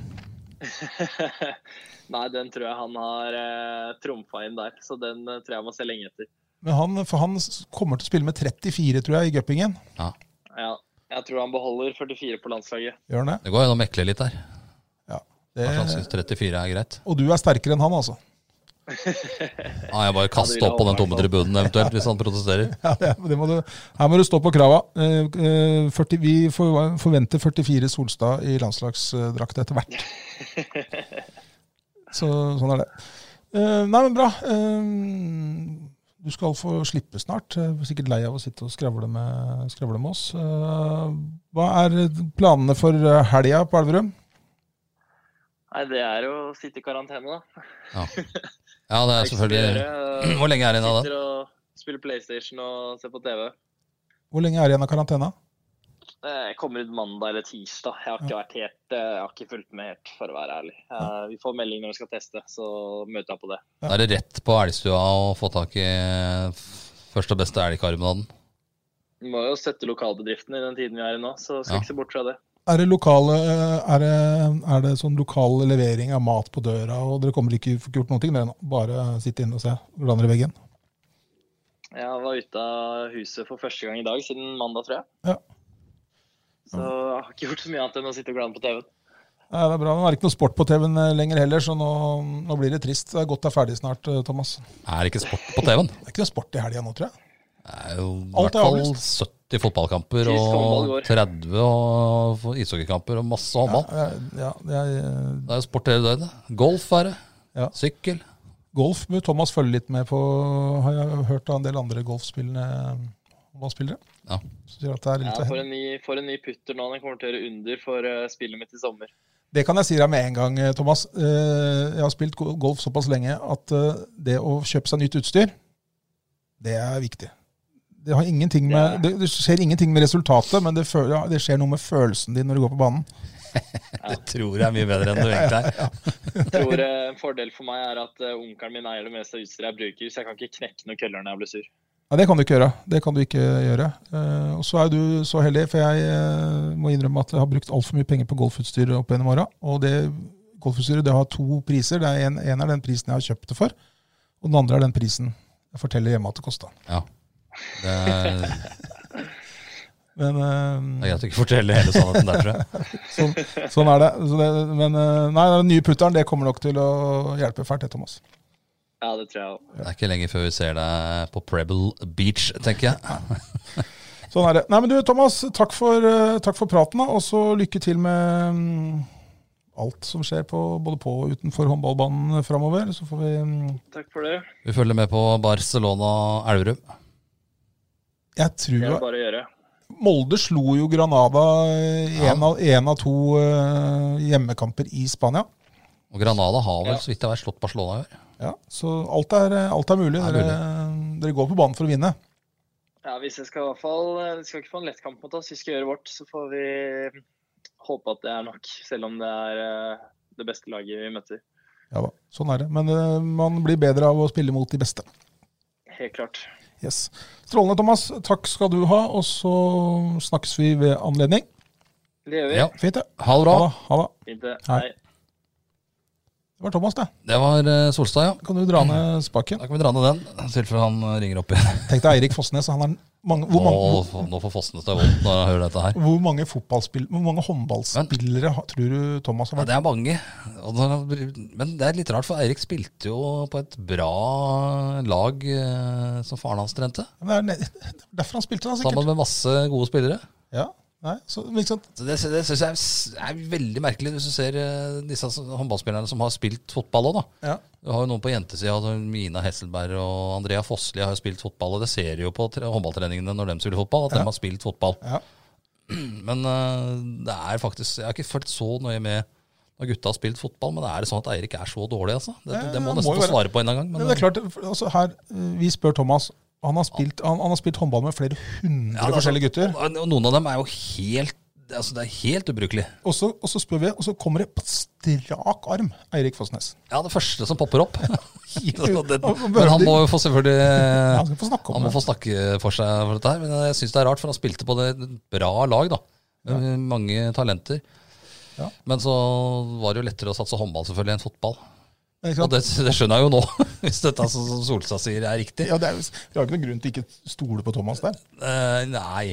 Speaker 4: Nei, den tror jeg han har eh, trumfa inn der, så den eh, tror jeg må se lenge etter.
Speaker 2: Men han, for han s- kommer til å spille med 34, tror jeg, i Gøppingen.
Speaker 4: Ja. Jeg tror han beholder 44 på landslaget.
Speaker 2: Gjør han det?
Speaker 1: Det går an å mekle litt der. Kanskje han
Speaker 2: det?
Speaker 1: synes 34 er greit.
Speaker 2: Og du er sterkere enn han, altså.
Speaker 1: Ja, jeg bare kaster opp på den tomme tribunen eventuelt, hvis han protesterer.
Speaker 2: Ja, det, det må du, her må du stå på krava. Eh, eh, 40, vi for, forventer 44 Solstad i landslagsdrakt etter hvert. Så, sånn er det. Eh, nei, men bra. Eh, du skal få slippe snart. Jeg er sikkert lei av å sitte og skravle med, skravle med oss. Eh, hva er planene for helga på Elverum?
Speaker 4: Nei, det er jo å sitte i karantene, da.
Speaker 1: Ja, det er selvfølgelig
Speaker 4: Eksplodere,
Speaker 1: Hvor lenge er det igjen av den?
Speaker 4: Sitter og spiller PlayStation og ser på TV.
Speaker 2: Hvor lenge er det igjen av karantena?
Speaker 4: Eh, Jeg kommer ut mandag eller tirsdag. Jeg har ikke, vært helt, eh, jeg har ikke fulgt med helt, for å være ærlig. Eh, Vi får melding når vi skal teste, så møter jeg på det.
Speaker 1: Da er det rett på elgstua å få tak i eh, første og beste elgkarmen av den.
Speaker 4: Vi må jo støtte lokalbedriftene i den tiden vi er i nå, så skal
Speaker 1: Ja.
Speaker 4: ikke se bort fra det.
Speaker 2: Er det, lokale, eh, er, det, er det sånn lokal levering av mat på døra, og dere kommer ikke få gjort noen ting? Dere nå? bare sitte inne og se? Glaner i veggen?
Speaker 4: Jeg var ute av huset for første gang i dag siden mandag, tror jeg.
Speaker 2: Ja.
Speaker 4: Så jeg har ikke gjort så mye annet enn å sitte og glane på TV-en.
Speaker 2: Nei, det er bra. Nå er det ikke noe sport på TV-en lenger heller, så nå, nå blir det trist. Det er godt det er ferdig snart, eh, Thomas. Det
Speaker 1: Er det ikke sport på TV-en?
Speaker 2: er ikke noe sport i helga nå, tror jeg.
Speaker 1: Det er jo i
Speaker 2: Alt
Speaker 1: hvert
Speaker 2: er
Speaker 1: fall
Speaker 2: avlyst.
Speaker 1: 70 fotballkamper
Speaker 4: Tysk håndball
Speaker 1: og
Speaker 4: går.
Speaker 1: 30 og ishockeykamper og masse håndball.
Speaker 2: Ja, ja, jeg, eh,
Speaker 1: Det er jo sport hele døgnet. Golf er det.
Speaker 2: Ja.
Speaker 1: Sykkel.
Speaker 2: golf bør Thomas følge litt med på, har jeg hørt av en del andre golfspillende eh, håndballspillere.
Speaker 1: Ja.
Speaker 2: Så sier at det, er litt,
Speaker 4: Jeg
Speaker 2: å
Speaker 4: får
Speaker 2: hente.
Speaker 4: en ny, får en ny putter nå. Den kommer til å gjøre under for eh, spillet mitt i sommer.
Speaker 2: det kan jeg si deg med en gang, eh, Thomas. Eh, Jeg har spilt go- golf såpass lenge at eh, det å kjøpe seg nytt utstyr, det er viktig. Det, har ingenting med, det, det skjer ingenting med resultatet, men det, føl- ja, det skjer noe med følelsen din når du går på banen.
Speaker 1: Det tror jeg er mye bedre enn det egentlig er.
Speaker 4: Jeg tror eh, En fordel for meg er at eh, onkelen min eier det meste av utstyret jeg bruker, så jeg kan ikke knekke noen køller når jeg blir sur.
Speaker 2: Nei, det kan du ikke gjøre. Det kan du ikke gjøre. Eh, og så er du så heldig, for jeg eh, må innrømme at jeg har brukt altfor mye penger på golfutstyr opp gjennom åra. Og det golfutstyret det har to priser. Det er en, en er den prisen jeg har kjøpt det for, og den andre er den prisen jeg forteller hjemme at det kosta.
Speaker 1: Ja. Det er,
Speaker 2: Men
Speaker 1: det er
Speaker 2: eh,
Speaker 1: greit å ikke fortelle hele sannheten der, tror jeg.
Speaker 2: sånn, sånn er det. Så det men eh, nei, den nye putteren det kommer nok til å hjelpe fælt, det, Thomas.
Speaker 4: Ja, det tror jeg også.
Speaker 1: Det er ikke lenge før vi ser deg på Prebble Beach, tenker jeg.
Speaker 2: Sånn er det. Nei, men du, Thomas, takk for, eh, takk for praten, da, og så lykke til med mm, alt som skjer på, både på og utenfor håndballbanen framover. Så får vi mm,
Speaker 4: Takk for det.
Speaker 1: Vi følger med på Barcelona-Elverum.
Speaker 2: Jeg
Speaker 4: Det
Speaker 2: tror
Speaker 4: er bare å gjøre.
Speaker 2: Molde slo jo Granada i
Speaker 1: Ja.
Speaker 2: én av, en av to eh, hjemmekamper i Spania.
Speaker 1: Og Granada har vel,
Speaker 4: Ja.
Speaker 1: så vidt jeg vet, slått Barcelona i år.
Speaker 2: Ja, så alt er, eh, alt er mulig.
Speaker 1: Er
Speaker 2: dere, dere går på banen for å vinne.
Speaker 4: Ja, hvis jeg skal i hvert fall eh, Vi skal ikke få en lett kamp mot oss. Vi skal gjøre vårt, så får vi mm, håpe at det er nok. Selv om det er eh, det beste laget vi møter.
Speaker 2: Ja da, sånn er det. Men eh, man blir bedre av å spille mot de beste.
Speaker 4: Helt klart.
Speaker 2: Yes. Strålende, Thomas. Takk skal du ha, og så snakkes vi ved anledning.
Speaker 4: Det gjør vi.
Speaker 1: Ja.
Speaker 2: Fint, det.
Speaker 1: Ha det bra.
Speaker 2: Ha det. Ha det.
Speaker 4: Fint, det.
Speaker 2: Hei.
Speaker 4: Hei.
Speaker 2: Det var Thomas, det.
Speaker 1: Det var eh, Solstad, ja.
Speaker 2: Kan du dra ned spaken?
Speaker 1: Da kan vi dra ned den, i tilfelle han eh, ringer opp igjen.
Speaker 2: Tenk deg Eirik Fossnes. Han er mange, hvor,
Speaker 1: Nå,
Speaker 2: mange,
Speaker 1: nå får Fossnes det vondt når han hører dette her.
Speaker 2: hvor mange fotballspill- hvor mange håndballspillere har- tror du Thomas har
Speaker 1: Ja,
Speaker 2: vært?
Speaker 1: det er mange. Og da- Men det er litt rart, for Eirik spilte jo på et bra lag eh, som faren hans trente.
Speaker 2: Det er ne- derfor han spilte, da,
Speaker 1: Sammen
Speaker 2: sikkert.
Speaker 1: med masse gode spillere.
Speaker 2: Ja, nei, så, men ikke sant?
Speaker 1: Så Det, det syns jeg er s- er veldig merkelig, hvis du ser eh, disse som- håndballspillerne som har spilt fotball òg, da.
Speaker 2: Ja.
Speaker 1: Du har jo noen på jentesida, altså Mina Hesselberg og Andrea Fossli har jo spilt fotball. Og det ser du jo på tre- håndballtreningene når de spiller fotball, at de har spilt fotball.
Speaker 2: Ja.
Speaker 1: Men eh, det er faktisk Jeg har ikke fulgt så nøye med når gutta har spilt fotball, men er det sånn at Eirik er så dårlig, altså? Det, det, det må han
Speaker 2: Ja, må
Speaker 1: nesten få
Speaker 2: jo være.
Speaker 1: svare på en eller annen gang.
Speaker 2: Men
Speaker 1: Men,
Speaker 2: det er klart, for- altså her, eh, Vi spør Thomas. Han har spilt, han, han har spilt håndball med flere hundre
Speaker 1: Ja, det er
Speaker 2: forskjellige
Speaker 1: sånn.
Speaker 2: gutter.
Speaker 1: Og- og Noen av dem er jo helt Altså, det er helt ubrukelig.
Speaker 2: Og så, og så spør vi, og så kommer det på strak arm Eirik Fossnes.
Speaker 1: Ja, det første som popper opp. Så det-
Speaker 2: Han- han
Speaker 1: men han
Speaker 2: bør-
Speaker 1: må jo få selvfølgelig
Speaker 2: Ja, han skal få snakke om
Speaker 1: Eh, Han må
Speaker 2: det.
Speaker 1: få snakke for seg for dette her. Men jeg syns det er rart, for han spilte på det et bra lag, da. Med Mange talenter.
Speaker 2: Ja.
Speaker 1: Men så var det jo lettere å satse håndball selvfølgelig enn fotball.
Speaker 2: Men ikke
Speaker 1: Og
Speaker 2: sant?
Speaker 1: det, det skjønner jeg jo nå, hvis dette som som Solstad sier er riktig.
Speaker 2: Ja, det er, jo- vi har ikke noen grunn til ikke stole på Thomas der.
Speaker 1: Eh, nei.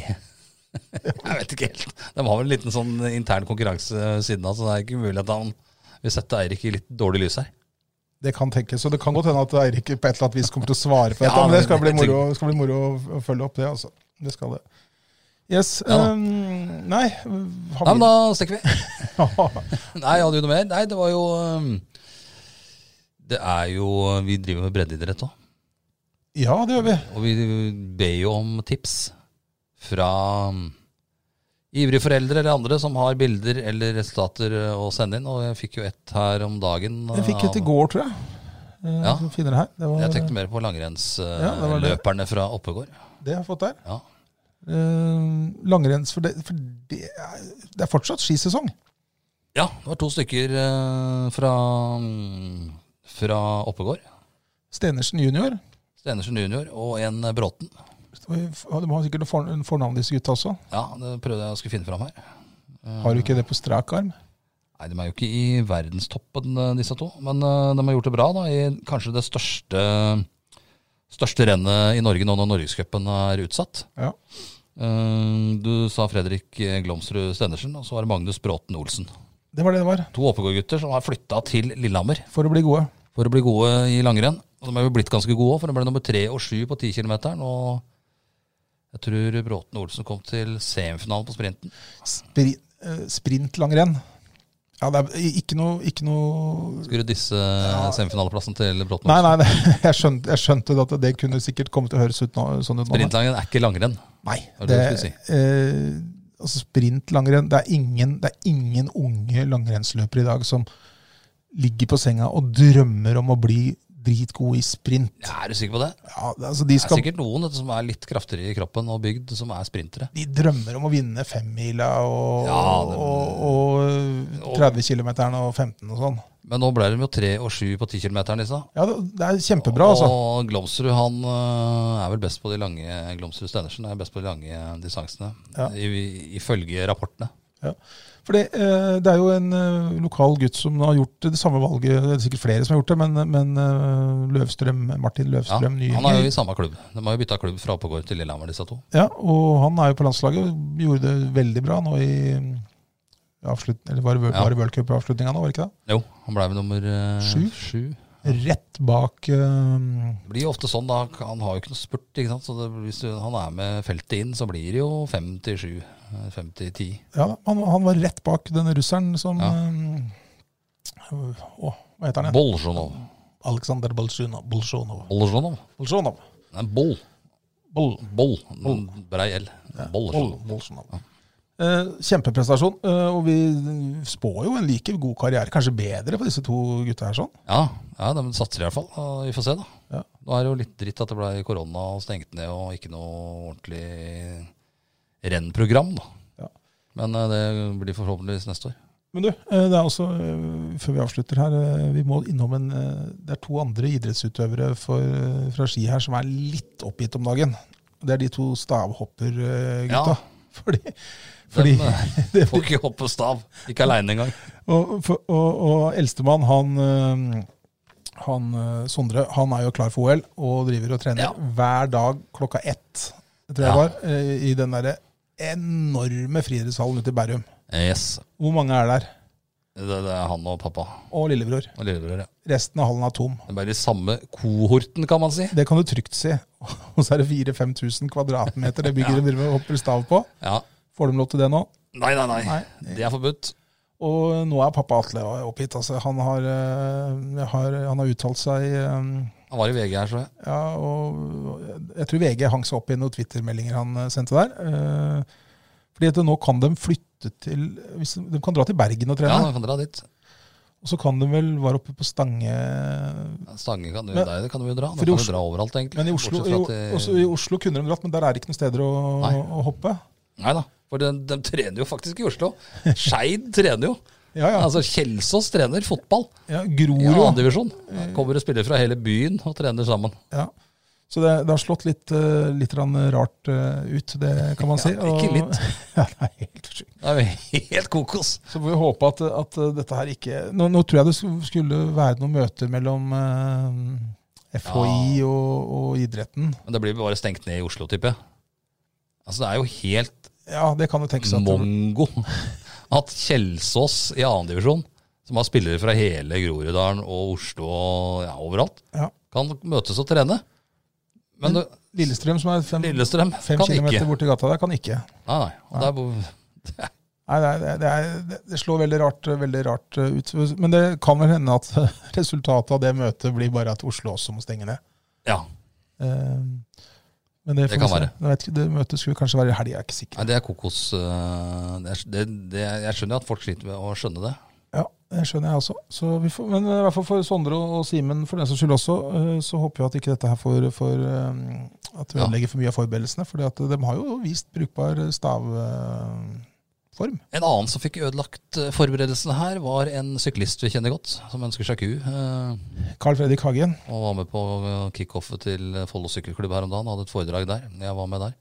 Speaker 1: Jeg vet ikke helt. De har vel en liten sånn intern konkurranse ved siden av, så det er ikke mulig at han vil sette Eirik i litt dårlig lys her.
Speaker 2: Det kan tenkes, og det kan godt hende at Eirik på et eller annet vis kommer til å svare på dette.
Speaker 1: Ja,
Speaker 2: men det skal bli
Speaker 1: men-
Speaker 2: moro, det skal bli moro å- å følge opp det, altså. Det skal det. Yes.
Speaker 1: Ja da.
Speaker 2: ehm, nei
Speaker 1: Nei, men
Speaker 2: har
Speaker 1: da stikker vi.
Speaker 2: vi-
Speaker 1: Nei, hadde du noe mer? Nei, det var jo ehm, Det er jo Vi driver med breddeidrett òg,
Speaker 2: Ja, det gjør vi.
Speaker 1: og vi ber jo om tips fra ehm, ivrige foreldre eller andre som har bilder eller resultater eh, å sende inn. Og jeg fikk jo ett her om dagen.
Speaker 2: Jeg fikk et i
Speaker 1: av-
Speaker 2: går, tror jeg. Eh,
Speaker 1: Ja.
Speaker 2: vi Finner det her. Det, var,
Speaker 1: Jeg tenkte
Speaker 2: det.
Speaker 1: mer på
Speaker 2: Ja, det var det.
Speaker 1: langrennsløperne fra Oppegård.
Speaker 2: jeg har fått der.
Speaker 1: Ja.
Speaker 2: Eh, langrenns, for, det, for det, er, det er fortsatt skisesong.
Speaker 1: Ja, det var to stykker eh, fra, mm, fra Oppegård.
Speaker 2: Stenersen junior.
Speaker 1: Stenersen junior og en eh, Bråten.
Speaker 2: Du har sikkert noen for- fornavn, disse gutta også.
Speaker 1: Ja, det prøvde jeg å skulle finne fram her.
Speaker 2: Har du ikke det på strak arm?
Speaker 1: Nei, De er jo ikke i verdenstoppen, eh, disse to. Men eh, de har gjort det bra da, i kanskje det største, største rennet i Norge nå når Norgescupen er utsatt.
Speaker 2: Ja.
Speaker 1: Eh, Du sa Fredrik Glomsrud Stenersen, og så var det Magnus Bråten Olsen.
Speaker 2: Det var det det var.
Speaker 1: To Oppegård-gutter som har flytta til Lillehammer.
Speaker 2: For å bli gode.
Speaker 1: for å bli gode i langrenn. Og de er jo blitt ganske gode òg, for de ble nummer tre og sju på 10 kilometeren. Og jeg tror Bråten Olsen kom til semifinalen på sprinten.
Speaker 2: Spri, eh, sprintlangrenn. Ja, det er ikke noe, ikke noe
Speaker 1: Skulle disse semifinaleplassen til Bråten
Speaker 2: Nei,
Speaker 1: Olsen.
Speaker 2: nei, det, jeg, skjønte, jeg skjønte at det kunne sikkert komme til å høres ut nå, sånn ut nå. men-
Speaker 1: Sprintlangen er ikke langrenn.
Speaker 2: Nei.
Speaker 1: var
Speaker 2: Det,
Speaker 1: det jeg
Speaker 2: eh, altså sprintlangrenn det er, ingen, det er ingen unge langrennsløpere i dag som ligger på senga og drømmer om å bli dritgod i sprint.
Speaker 1: Er du sikker på det?
Speaker 2: Ja, det- altså de,
Speaker 1: Det er
Speaker 2: skal,
Speaker 1: sikkert noen vet du, som er litt kraftigere i kroppen og bygd, som er sprintere.
Speaker 2: de drømmer om å vinne femmila og,
Speaker 1: Ja, det-
Speaker 2: og, og 30 km og 15 og sånn.
Speaker 1: Men nå ble de jo tre og sju på 10 kilometeren, disse.
Speaker 2: Ja, det, det er kjempebra, altså.
Speaker 1: Og Glomsrud han øh, er vel best på de lange Glomsrud Stenersen er best på de lange distansene,
Speaker 2: Ja.
Speaker 1: i- ifølge rapportene.
Speaker 2: Ja. For det, eh, det er jo en eh, lokal gutt som har gjort det samme valget, det er sikkert flere som har gjort det, men, men eh, Løvstrøm, Martin
Speaker 1: Ja,
Speaker 2: Løvstrøm Nyhenger.
Speaker 1: han er jo i samme klubb. De har jo bytta klubb fra Oppegård til Lillehammer, disse to.
Speaker 2: Ja, og han er jo på landslaget og gjorde det veldig bra nå i i avslut, eller var det,
Speaker 1: Ja.
Speaker 2: var det World Cup-avslutninga nå, var det ikke det?
Speaker 1: Jo, han ble vel nummer eh,
Speaker 2: Sju.
Speaker 1: sju.
Speaker 2: Rett bak eh,
Speaker 1: Det blir jo ofte sånn, da. Han har jo ikke noe spurt, ikke sant. Så det, hvis du, han er med feltet inn, så blir det jo fem til sju. eh, Fem til ti.
Speaker 2: Ja, da, han, han var rett bak den russeren som
Speaker 1: Ja.
Speaker 2: eh, Å, hva heter han igjen?
Speaker 1: Bolsjunov.
Speaker 2: Aleksandr Bolsjunov. Bolsjunov.
Speaker 1: Bolsjunov.
Speaker 2: Bolsjunov.
Speaker 1: Nei, boll.
Speaker 2: Bol.
Speaker 1: Boll. Brei L. altså. Bolsjunov.
Speaker 2: Bol- Bolsjunov. Eh, kjempeprestasjon, eh, og vi spår jo en like god karriere, kanskje bedre, på disse to gutta her. sånn.
Speaker 1: Ja, ja, de satser i hvert fall. og Vi får se, da.
Speaker 2: Ja.
Speaker 1: Nå er det jo litt dritt at det ble korona og stengt ned og ikke noe ordentlig rennprogram, da.
Speaker 2: Ja.
Speaker 1: Men eh, det blir forhåpentligvis neste år.
Speaker 2: Men du, eh, det er også, eh, før vi avslutter her, eh, vi må innom en eh, Det er to andre idrettsutøvere for, eh, fra ski her som er litt oppgitt om dagen. Det er de to
Speaker 1: Ja.
Speaker 2: stavhoppergutta. Fordi, fordi
Speaker 1: Dem, eh,
Speaker 2: det,
Speaker 1: Får ikke hoppe stav. Ikke aleine engang.
Speaker 2: og, for, og, og eldstemann, han eh, han, eh, Sondre han er jo klar for OL og driver og trener
Speaker 1: Ja.
Speaker 2: hver dag klokka ett, tror
Speaker 1: Ja.
Speaker 2: jeg det var, eh, i den derre enorme friidrettshallen ute i Bærum.
Speaker 1: Eh, Yes.
Speaker 2: Hvor mange er der?
Speaker 1: Det, det er han og pappa
Speaker 2: Og lillebror.
Speaker 1: og lillebror. Ja.
Speaker 2: Resten av hallen er tom.
Speaker 1: Det er bare i samme kohorten, kan man si.
Speaker 2: Det kan du trygt si. Og så er det 4000-5000 kvadratmeter det bygget de driver og hopper stav på.
Speaker 1: Ja.
Speaker 2: Får de lov til det nå?
Speaker 1: Nei, nei, nei,
Speaker 2: Nei.
Speaker 1: Det er forbudt.
Speaker 2: Og nå er pappa Atle oppgitt. Altså, han har, eh, har, han har uttalt seg eh,
Speaker 1: Han var i VG her, så jeg.
Speaker 2: ja, og Jeg tror VG hang seg opp i noen Twitter-meldinger han eh, sendte der. Eh, Fordi at nå kan de flytte til hvis de, de kan dra til Bergen og
Speaker 1: Ja,
Speaker 2: trene.
Speaker 1: da kan dra dit.
Speaker 2: Og så kan de vel være oppe på Stange
Speaker 1: Stange kan du,
Speaker 2: Men-
Speaker 1: der kan du jo dra.
Speaker 2: for i
Speaker 1: Der kan du
Speaker 2: Oslo-
Speaker 1: dra overalt, egentlig.
Speaker 2: Men i Oslo,
Speaker 1: Bortsett
Speaker 2: i,
Speaker 1: fra at, eh,
Speaker 2: også, i Oslo kunne de dratt, men der er det ikke noen steder å,
Speaker 1: Nei.
Speaker 2: å hoppe.
Speaker 1: Nei da. For de, de trener jo faktisk i Oslo. Skeid trener jo.
Speaker 2: Ja, ja.
Speaker 1: Altså Kjelsås trener fotball
Speaker 2: ja
Speaker 1: i
Speaker 2: Grorud.
Speaker 1: annendivisjon. Kommer og spiller fra hele byen og trener sammen.
Speaker 2: Ja. Så det, det har slått litt, eh, litt grann rart eh, ut, det kan man si.
Speaker 1: Ja, ikke litt.
Speaker 2: ja, det er helt sjukt.
Speaker 1: Det er jo helt kokos.
Speaker 2: Så får vi håpe at, at dette her ikke nå, nå tror jeg det sk- skulle være noen møter mellom eh, FHI og, og idretten.
Speaker 1: Men det blir bare stengt ned i Oslo, tipper jeg. Altså, det er jo helt
Speaker 2: Ja, det kan jo tenkes at det,
Speaker 1: mongo at Kjelsås i annendivisjon, som har spillere fra hele Groruddalen og Oslo og ja, overalt,
Speaker 2: Ja.
Speaker 1: kan møtes og trene. Men, det-
Speaker 2: Lillestrøm, som er fem,
Speaker 1: Lillestrøm
Speaker 2: fem
Speaker 1: kan
Speaker 2: kilometer
Speaker 1: ikke.
Speaker 2: borti gata der, kan ikke.
Speaker 1: Nei, nei. Og Det er, bo-
Speaker 2: Nei, det, er- det, er- det, er, det slår veldig rart, veldig rart eh, ut. Men det kan vel hende at resultatet av det møtet blir bare at Oslo også må stenge ned.
Speaker 1: ja,
Speaker 2: Eh, Men det, får
Speaker 1: kan
Speaker 2: vi se.
Speaker 1: være.
Speaker 2: Jeg vet ikke, det møtet skulle kanskje være i helga, jeg er ikke sikker.
Speaker 1: nei, det er kokos. øh, Det er, det, det, jeg skjønner jo at folk sliter med å skjønne det.
Speaker 2: Ja, det skjønner jeg også. Så vi får, men eh, i hvert fall for Sondre og Simen for den saks skyld også, eh, så håper jeg at ikke dette her får, får eh, at det
Speaker 1: Ja.
Speaker 2: ødelegger for mye av forberedelsene. For de har jo vist brukbar eh, stavform.
Speaker 1: En annen som fikk ødelagt øh, forberedelsene her, var en syklist vi kjenner godt, som ønsker seg ku. øh,
Speaker 2: Carl Fredrik Hagen.
Speaker 1: Og var med på eh, kickoffet til eh, Follo sykkelklubb her om dagen. Hadde et foredrag der. Jeg var med der.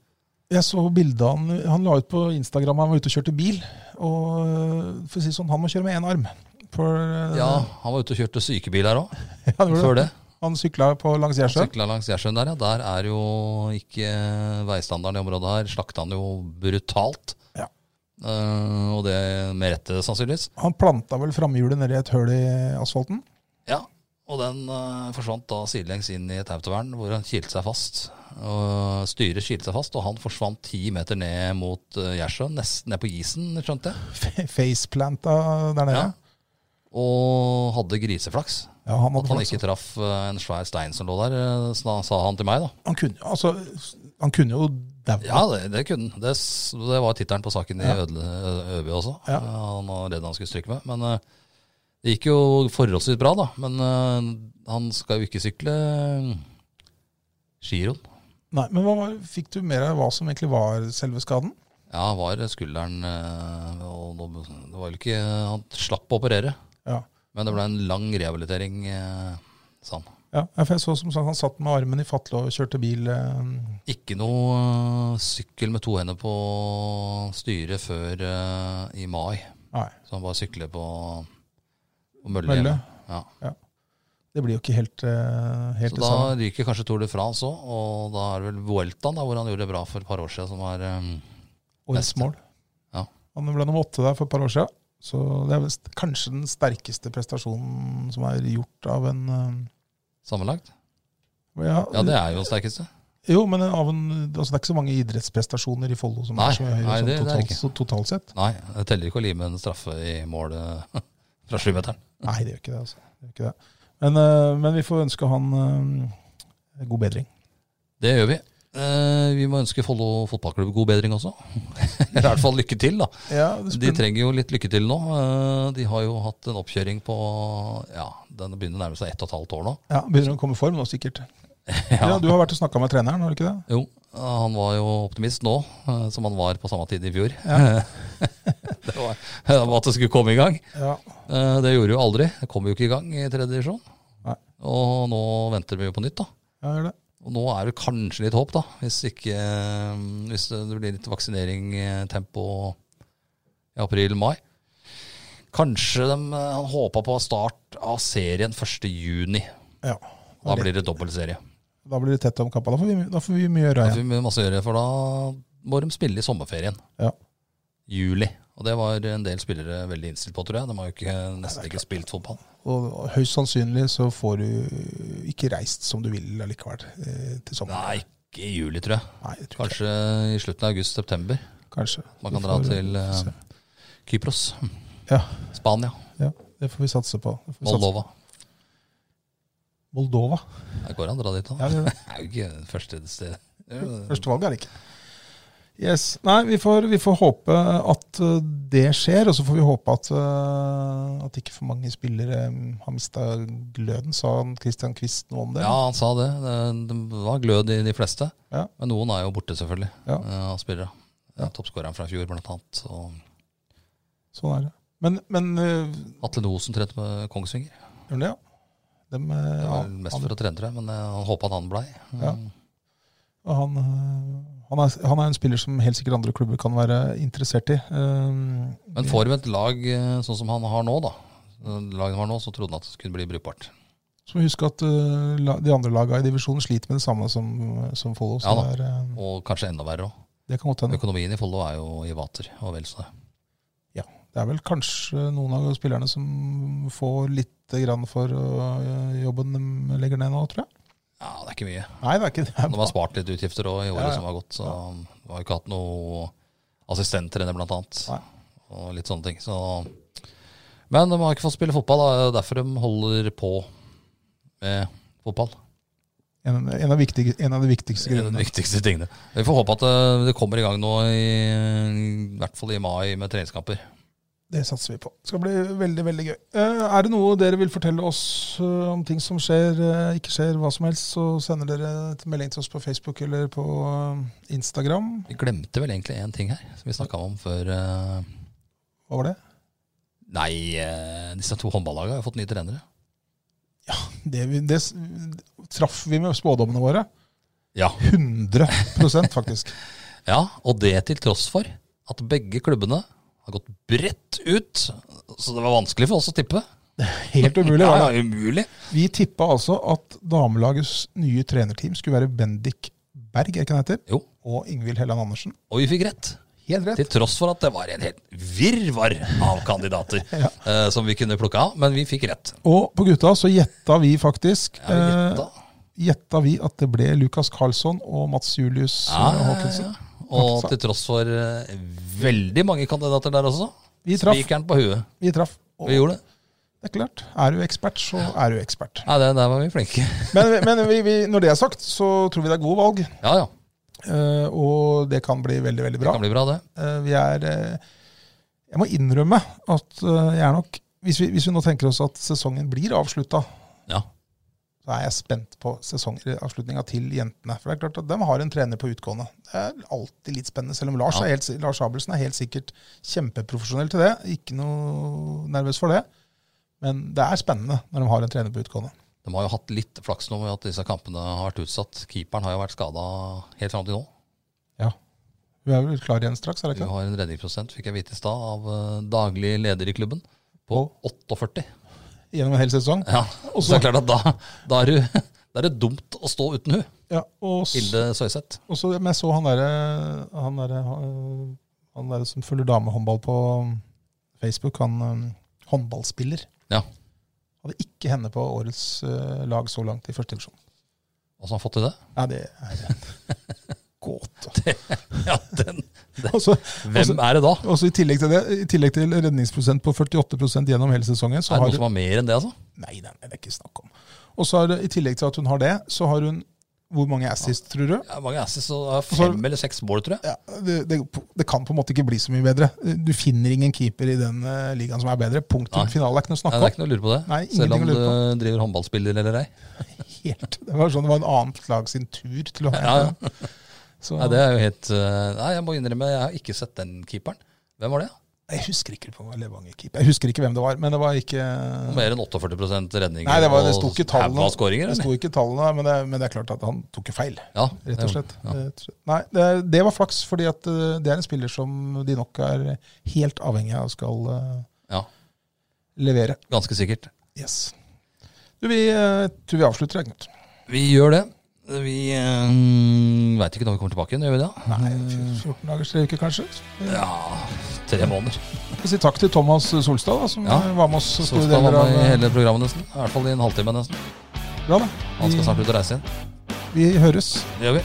Speaker 2: Jeg så bildet han, han la ut på Instagram. Han var ute og kjørte bil. Og eh, for å si det sånn, han må kjøre med én arm. For, eh,
Speaker 1: Ja, Han var ute og kjørte sykebil her òg,
Speaker 2: han gjorde
Speaker 1: før det.
Speaker 2: Han sykla på langs Gjersjøen.
Speaker 1: Sykla langs Gjersjøen der, ja. Der er jo ikke eh, veistandarden i området her. Slakta han jo brutalt.
Speaker 2: Ja.
Speaker 1: Eh, og det med rette, sannsynligvis.
Speaker 2: Han planta vel framhjulet nedi et høl i asfalten.
Speaker 1: Ja, og den eh, forsvant da sidelengs inn i et autovern, hvor han kilte seg fast. Og styret kilte seg fast, og han forsvant ti meter ned mot eh, Gjersjøen. Nesten ned på isen, skjønte jeg.
Speaker 2: Fe- Faceplanta der nede.
Speaker 1: Ja. og hadde griseflaks.
Speaker 2: Ja, han, hadde
Speaker 1: At han
Speaker 2: flaks.
Speaker 1: ikke traff eh, en svær stein som lå der, eh, sna- sa han til meg, da.
Speaker 2: han, kunne, altså, han kunne jo daua.
Speaker 1: Ja, det, det kunne han. Det, s- det var tittelen på saken i Ødle, Ø- Øby også.
Speaker 2: Ja.
Speaker 1: Eh, Han var redd han skulle stryke med. Men eh, det gikk jo forholdsvis bra, da. Men eh, han skal jo ikke sykle eh, giroen.
Speaker 2: Nei, men hva var, fikk du mer av hva som egentlig var selve skaden?
Speaker 1: Ja, han var skulderen eh, og nå- Det var jo ikke eh, Han slapp å operere,
Speaker 2: Ja.
Speaker 1: men det ble en lang rehabilitering, eh, sa han.
Speaker 2: ja, ja, for jeg så som sagt han satt med armen i fatle og kjørte bil. eh,
Speaker 1: Ikke noe øh, sykkel med to hender på styret før øh, i mai.
Speaker 2: Nei,
Speaker 1: Så han bare sykler på, på mølle.
Speaker 2: Mølle.
Speaker 1: hjemme. Ja.
Speaker 2: det blir jo ikke helt, eh,
Speaker 1: Så
Speaker 2: helt det
Speaker 1: da
Speaker 2: samme.
Speaker 1: ryker kanskje Tour de France òg, og da er det vel Vueltaen da, hvor han gjorde det bra for et par år siden, som er eh, øhm,
Speaker 2: Årets mål.
Speaker 1: Ja.
Speaker 2: Han ble nummer åtte der for et par år siden. Så det er vel st- kanskje den sterkeste prestasjonen som er gjort av en eh,
Speaker 1: sammenlagt.
Speaker 2: ja,
Speaker 1: Ja, det er jo den sterkeste.
Speaker 2: Jo, men av en, altså det er ikke så mange idrettsprestasjoner i Follo som
Speaker 1: Nei,
Speaker 2: er så høye
Speaker 1: nei,
Speaker 2: sånn
Speaker 1: det- det er
Speaker 2: totalt,
Speaker 1: ikke.
Speaker 2: så- totalt sett.
Speaker 1: Nei, det teller ikke å lime en straffe i målet fra sjumeteren.
Speaker 2: Nei, det gjør ikke det. altså. Det gjør ikke det. Men, eh, men vi får ønske han eh, god bedring.
Speaker 1: Det gjør vi. Eh, vi må ønske Follo fotballklubb god bedring også. Eller i hvert fall lykke til, da.
Speaker 2: Ja, det
Speaker 1: De
Speaker 2: spør-
Speaker 1: trenger jo litt lykke til nå. Eh, De har jo hatt en oppkjøring på ja, den begynner å nærme seg ett og et halvt år nå.
Speaker 2: ja, begynner å komme i form nå, sikkert. Ja. Du har vært og snakka med treneren, har du ikke det?
Speaker 1: Jo, Eh, han var jo optimist nå, eh, som han var på samme tid i fjor. det var det var at det skulle komme i gang.
Speaker 2: Ja.
Speaker 1: Eh, Det gjorde jo aldri. Det kom jo ikke i gang i tredje divisjon.
Speaker 2: Nei.
Speaker 1: Og nå venter vi jo på nytt, da.
Speaker 2: ja gjør det.
Speaker 1: Og nå er det kanskje litt håp, da. Hvis, ikke, eh, hvis det blir litt vaksinering eh, tempo i april-mai. Kanskje de, eh, han håpa på start av serien 1.6.
Speaker 2: Ja.
Speaker 1: Da blir det dobbeltserie.
Speaker 2: Da blir det tett om kappa. Da får vi, da får vi mye å gjøre
Speaker 1: Da
Speaker 2: igjen.
Speaker 1: får vi masse å gjøre, for da må de spille i sommerferien.
Speaker 2: Ja.
Speaker 1: Juli. Og det var en del spillere veldig innstilt på, tror jeg. De har jo ikke, nesten ikke spilt fotball.
Speaker 2: Og høyst sannsynlig så får du ikke reist som du vil allikevel eh,
Speaker 1: Nei,
Speaker 2: til sommeren.
Speaker 1: ikke i juli, tror jeg.
Speaker 2: Nei, jeg tror ikke
Speaker 1: Kanskje i slutten av august-september.
Speaker 2: det. Kanskje.
Speaker 1: Man
Speaker 2: Vi
Speaker 1: kan dra
Speaker 2: får, eh,
Speaker 1: til eh,
Speaker 2: se.
Speaker 1: Kypros.
Speaker 2: Ja.
Speaker 1: Spania.
Speaker 2: Ja, det får vi satse på. Det får vi satse-
Speaker 1: Moldova.
Speaker 2: Moldova.
Speaker 1: Det går an å dra dit, da.
Speaker 2: Ja, det gjør det.
Speaker 1: Det er jo ikke første sted. Det er jo-
Speaker 2: Førstevalget er det ikke. Yes. Nei, vi får, vi får håpe at eh, det skjer, og så får vi håpe at, eh, at ikke for mange spillere eh, har mista gløden, sa han Christian Quist noe om det.
Speaker 1: Ja, han sa det. Det, det var glød i de fleste.
Speaker 2: Ja.
Speaker 1: Men noen er jo borte, selvfølgelig,
Speaker 2: Ja.
Speaker 1: eh, av spillere. Ja. Toppskåreren fra i fjor, blant annet. Og
Speaker 2: Sånn er det. Men, men eh,
Speaker 1: Atle Nosen trente med Kongsvinger.
Speaker 2: gjør han det, ja? Dem, eh,
Speaker 1: Det
Speaker 2: ja,
Speaker 1: var mest for å trene, tror jeg, men eh, han håpa at han blei. Mm.
Speaker 2: Ja. Og Han, øh, han, er, han er en spiller som helt sikkert andre klubber kan være interessert i. Ehm,
Speaker 1: Men får vi et lag eh, sånn som han har nå, da, eh, laget han har nå, så trodde han at det skulle bli brukbart.
Speaker 2: Så må vi huske at øh, la- de andre lagene i divisjonen sliter med det samme som, som Follo. så
Speaker 1: Ja da.
Speaker 2: det, er, øh,
Speaker 1: Og kanskje enda verre òg.
Speaker 2: det kan godt hende.
Speaker 1: Økonomien i Follo er jo i vater og vel så det.
Speaker 2: Det er vel kanskje noen av spillerne som får litt grann for øh, jobben de legger ned nå, tror jeg.
Speaker 1: Ja, det er ikke mye.
Speaker 2: Nei, det er ikke det.
Speaker 1: De har spart litt utgifter òg i året
Speaker 2: Ja, ja.
Speaker 1: som har gått, så de har jo ikke hatt noe assistenttrener, blant annet.
Speaker 2: Nei.
Speaker 1: Og litt sånne ting. Så. Men de har ikke fått spille fotball, da. Det er derfor de holder på med fotball.
Speaker 2: En, en, av viktige, en av de viktigste
Speaker 1: Det er en av
Speaker 2: grunnene.
Speaker 1: de viktigste tingene. Vi får håpe at eh, det kommer i gang nå, i, i hvert fall i mai, med treningskamper.
Speaker 2: Det satser vi på. Det skal bli veldig, veldig gøy. Eh, er det noe dere vil fortelle oss eh, om ting som skjer, eh, ikke skjer, hva som helst, så sender dere et melding til oss på Facebook eller på eh, Instagram.
Speaker 1: Vi glemte vel egentlig én ting her, som vi snakka om før. eh,
Speaker 2: Hva var det?
Speaker 1: Nei, eh, disse to håndballagene har jo fått nye trenere.
Speaker 2: Det, vi, det s- traff vi med spådommene våre.
Speaker 1: Ja.
Speaker 2: 100 faktisk.
Speaker 1: Ja, og det til tross for at begge klubbene har gått bredt ut, så det var vanskelig for oss å tippe.
Speaker 2: Helt umulig.
Speaker 1: Ja,
Speaker 2: Var
Speaker 1: ja,
Speaker 2: det.
Speaker 1: umulig.
Speaker 2: Vi tippa altså at damelagets nye trenerteam skulle være Bendik Berg, er ikke han heter?
Speaker 1: Jo,
Speaker 2: Og Ingvild Helland Andersen.
Speaker 1: og vi fikk rett.
Speaker 2: Helt rett.
Speaker 1: Til tross for at det var en helt virvar av kandidater eh, som vi kunne plukke av, men vi fikk rett.
Speaker 2: Og på gutta så gjetta vi faktisk.
Speaker 1: Ja, vi gjetta.
Speaker 2: eh, gjetta vi at det ble Lukas Karlsson og Mats Julius
Speaker 1: Ja,
Speaker 2: ja,
Speaker 1: ja, ja.
Speaker 2: Haakonsen.
Speaker 1: Og til tross for eh, veldig mange kandidater der også,
Speaker 2: Vi traff.
Speaker 1: spikeren på huet.
Speaker 2: Vi traff. Og
Speaker 1: Vi gjorde det.
Speaker 2: det er klart, er du ekspert, så er du ekspert.
Speaker 1: Nei, det, der var vi flinke.
Speaker 2: Men, men vi, vi, når det er sagt, så tror vi det er gode valg.
Speaker 1: Ja, ja.
Speaker 2: eh, og det kan bli veldig, veldig
Speaker 1: Det
Speaker 2: bra.
Speaker 1: kan bli bra, det.
Speaker 2: Eh, vi er eh, Jeg må innrømme at eh, jeg er nok hvis vi, hvis vi nå tenker oss at sesongen blir avslutta,
Speaker 1: Ja.
Speaker 2: så er jeg spent på sesongavslutninga til jentene. For det er klart at de har en trener på utgående. Det er alltid litt spennende, selv om Lars,
Speaker 1: Ja.
Speaker 2: er helt, Lars Abelsen er helt sikkert kjempeprofesjonell til det. Ikke noe nervøs for det. Men det er spennende når de har en trener på utgående.
Speaker 1: De har jo hatt litt flaks nå med at disse kampene har vært utsatt. Keeperen har jo vært skada helt fram til nå.
Speaker 2: Vi er vel klar igjen straks, er det
Speaker 1: Du
Speaker 2: ikke?
Speaker 1: har en redningsprosent, fikk jeg vite i stad, av eh, daglig leder i klubben på 48.
Speaker 2: Gjennom en hel sesong.
Speaker 1: Ja, og så er det klart at da, da, er du, da er det dumt å stå uten hun,
Speaker 2: Ja, og s-
Speaker 1: Hilde Søyseth.
Speaker 2: Og så, men jeg så han derre han, derre, øh, han derre som følger damehåndball på um, Facebook, han øh, håndballspiller.
Speaker 1: Ja.
Speaker 2: Hadde ikke henne på årets øh, lag så langt i første divisjon.
Speaker 1: Åssen har han fått til det?
Speaker 2: Nei, det er en gåte.
Speaker 1: Ja, den,
Speaker 2: Og så- og
Speaker 1: hvem
Speaker 2: så-
Speaker 1: er det da?
Speaker 2: og så i tillegg til det, i tillegg til redningsprosent på 48 gjennom hele sesongen, så
Speaker 1: Er det
Speaker 2: har
Speaker 1: noen
Speaker 2: du
Speaker 1: som har mer enn det, altså?
Speaker 2: Nei, nei, nei, det er ikke snakk om. Og så har det, i tillegg til at hun har det, så har hun Hvor mange assist, tror du?
Speaker 1: Ja, mange asses og ja, fem eller seks mål, tror jeg.
Speaker 2: ja, det, det, det kan på en måte ikke bli så mye bedre. Du finner ingen keeper i den eh, ligaen som er bedre. Punktum.
Speaker 1: Nei.
Speaker 2: Finale er ikke noe å
Speaker 1: Nei, det er
Speaker 2: snakke om.
Speaker 1: ikke noe å lure på det.
Speaker 2: Nei,
Speaker 1: Selv
Speaker 2: ingenting
Speaker 1: om
Speaker 2: å
Speaker 1: du eh,
Speaker 2: lure
Speaker 1: driver håndballspiller eller ei.
Speaker 2: Helt. Det var sånn det var en annet lag sin tur til å ha
Speaker 1: Ja, ja.
Speaker 2: Så,
Speaker 1: Nei, det er jo helt eh, Nei, jeg må innrømme, jeg har ikke sett den keeperen. Hvem var det?
Speaker 2: Jeg husker ikke på Levanger-keeper. Jeg husker ikke hvem det var, men det var ikke
Speaker 1: Mer enn 48 redning.
Speaker 2: Nei, det, var, det sto ikke tallene.
Speaker 1: Av skåringer,
Speaker 2: det
Speaker 1: eller?
Speaker 2: sto ikke tallene men, det, men det er klart at han tok jo feil,
Speaker 1: Ja,
Speaker 2: rett
Speaker 1: det-
Speaker 2: og slett.
Speaker 1: Ja.
Speaker 2: Rett og slett. Nei, det, det var flaks, fordi at eh, det er en spiller som de nok er helt avhengig av skal eh,
Speaker 1: ja,
Speaker 2: levere.
Speaker 1: ganske sikkert.
Speaker 2: Yes. Du, vi eh, tror vi avslutter, jeg, Knut.
Speaker 1: Vi gjør det. Vi øh, veit ikke når vi kommer tilbake igjen, gjør vi det?
Speaker 2: Nei, 14 Eh, dagers tre uker kanskje.
Speaker 1: Ja, tre måneder.
Speaker 2: Vi sier takk til Thomas Solstad, da, som
Speaker 1: Ja.
Speaker 2: eh, var med oss
Speaker 1: Så
Speaker 2: store
Speaker 1: skal han
Speaker 2: deler av
Speaker 1: med i
Speaker 2: eh,
Speaker 1: hele programmet nesten. I hvert fall i en halvtime nesten.
Speaker 2: bra, da.
Speaker 1: Han skal
Speaker 2: Vi,
Speaker 1: snart ut og reise igjen.
Speaker 2: vi høres.
Speaker 1: Det gjør vi.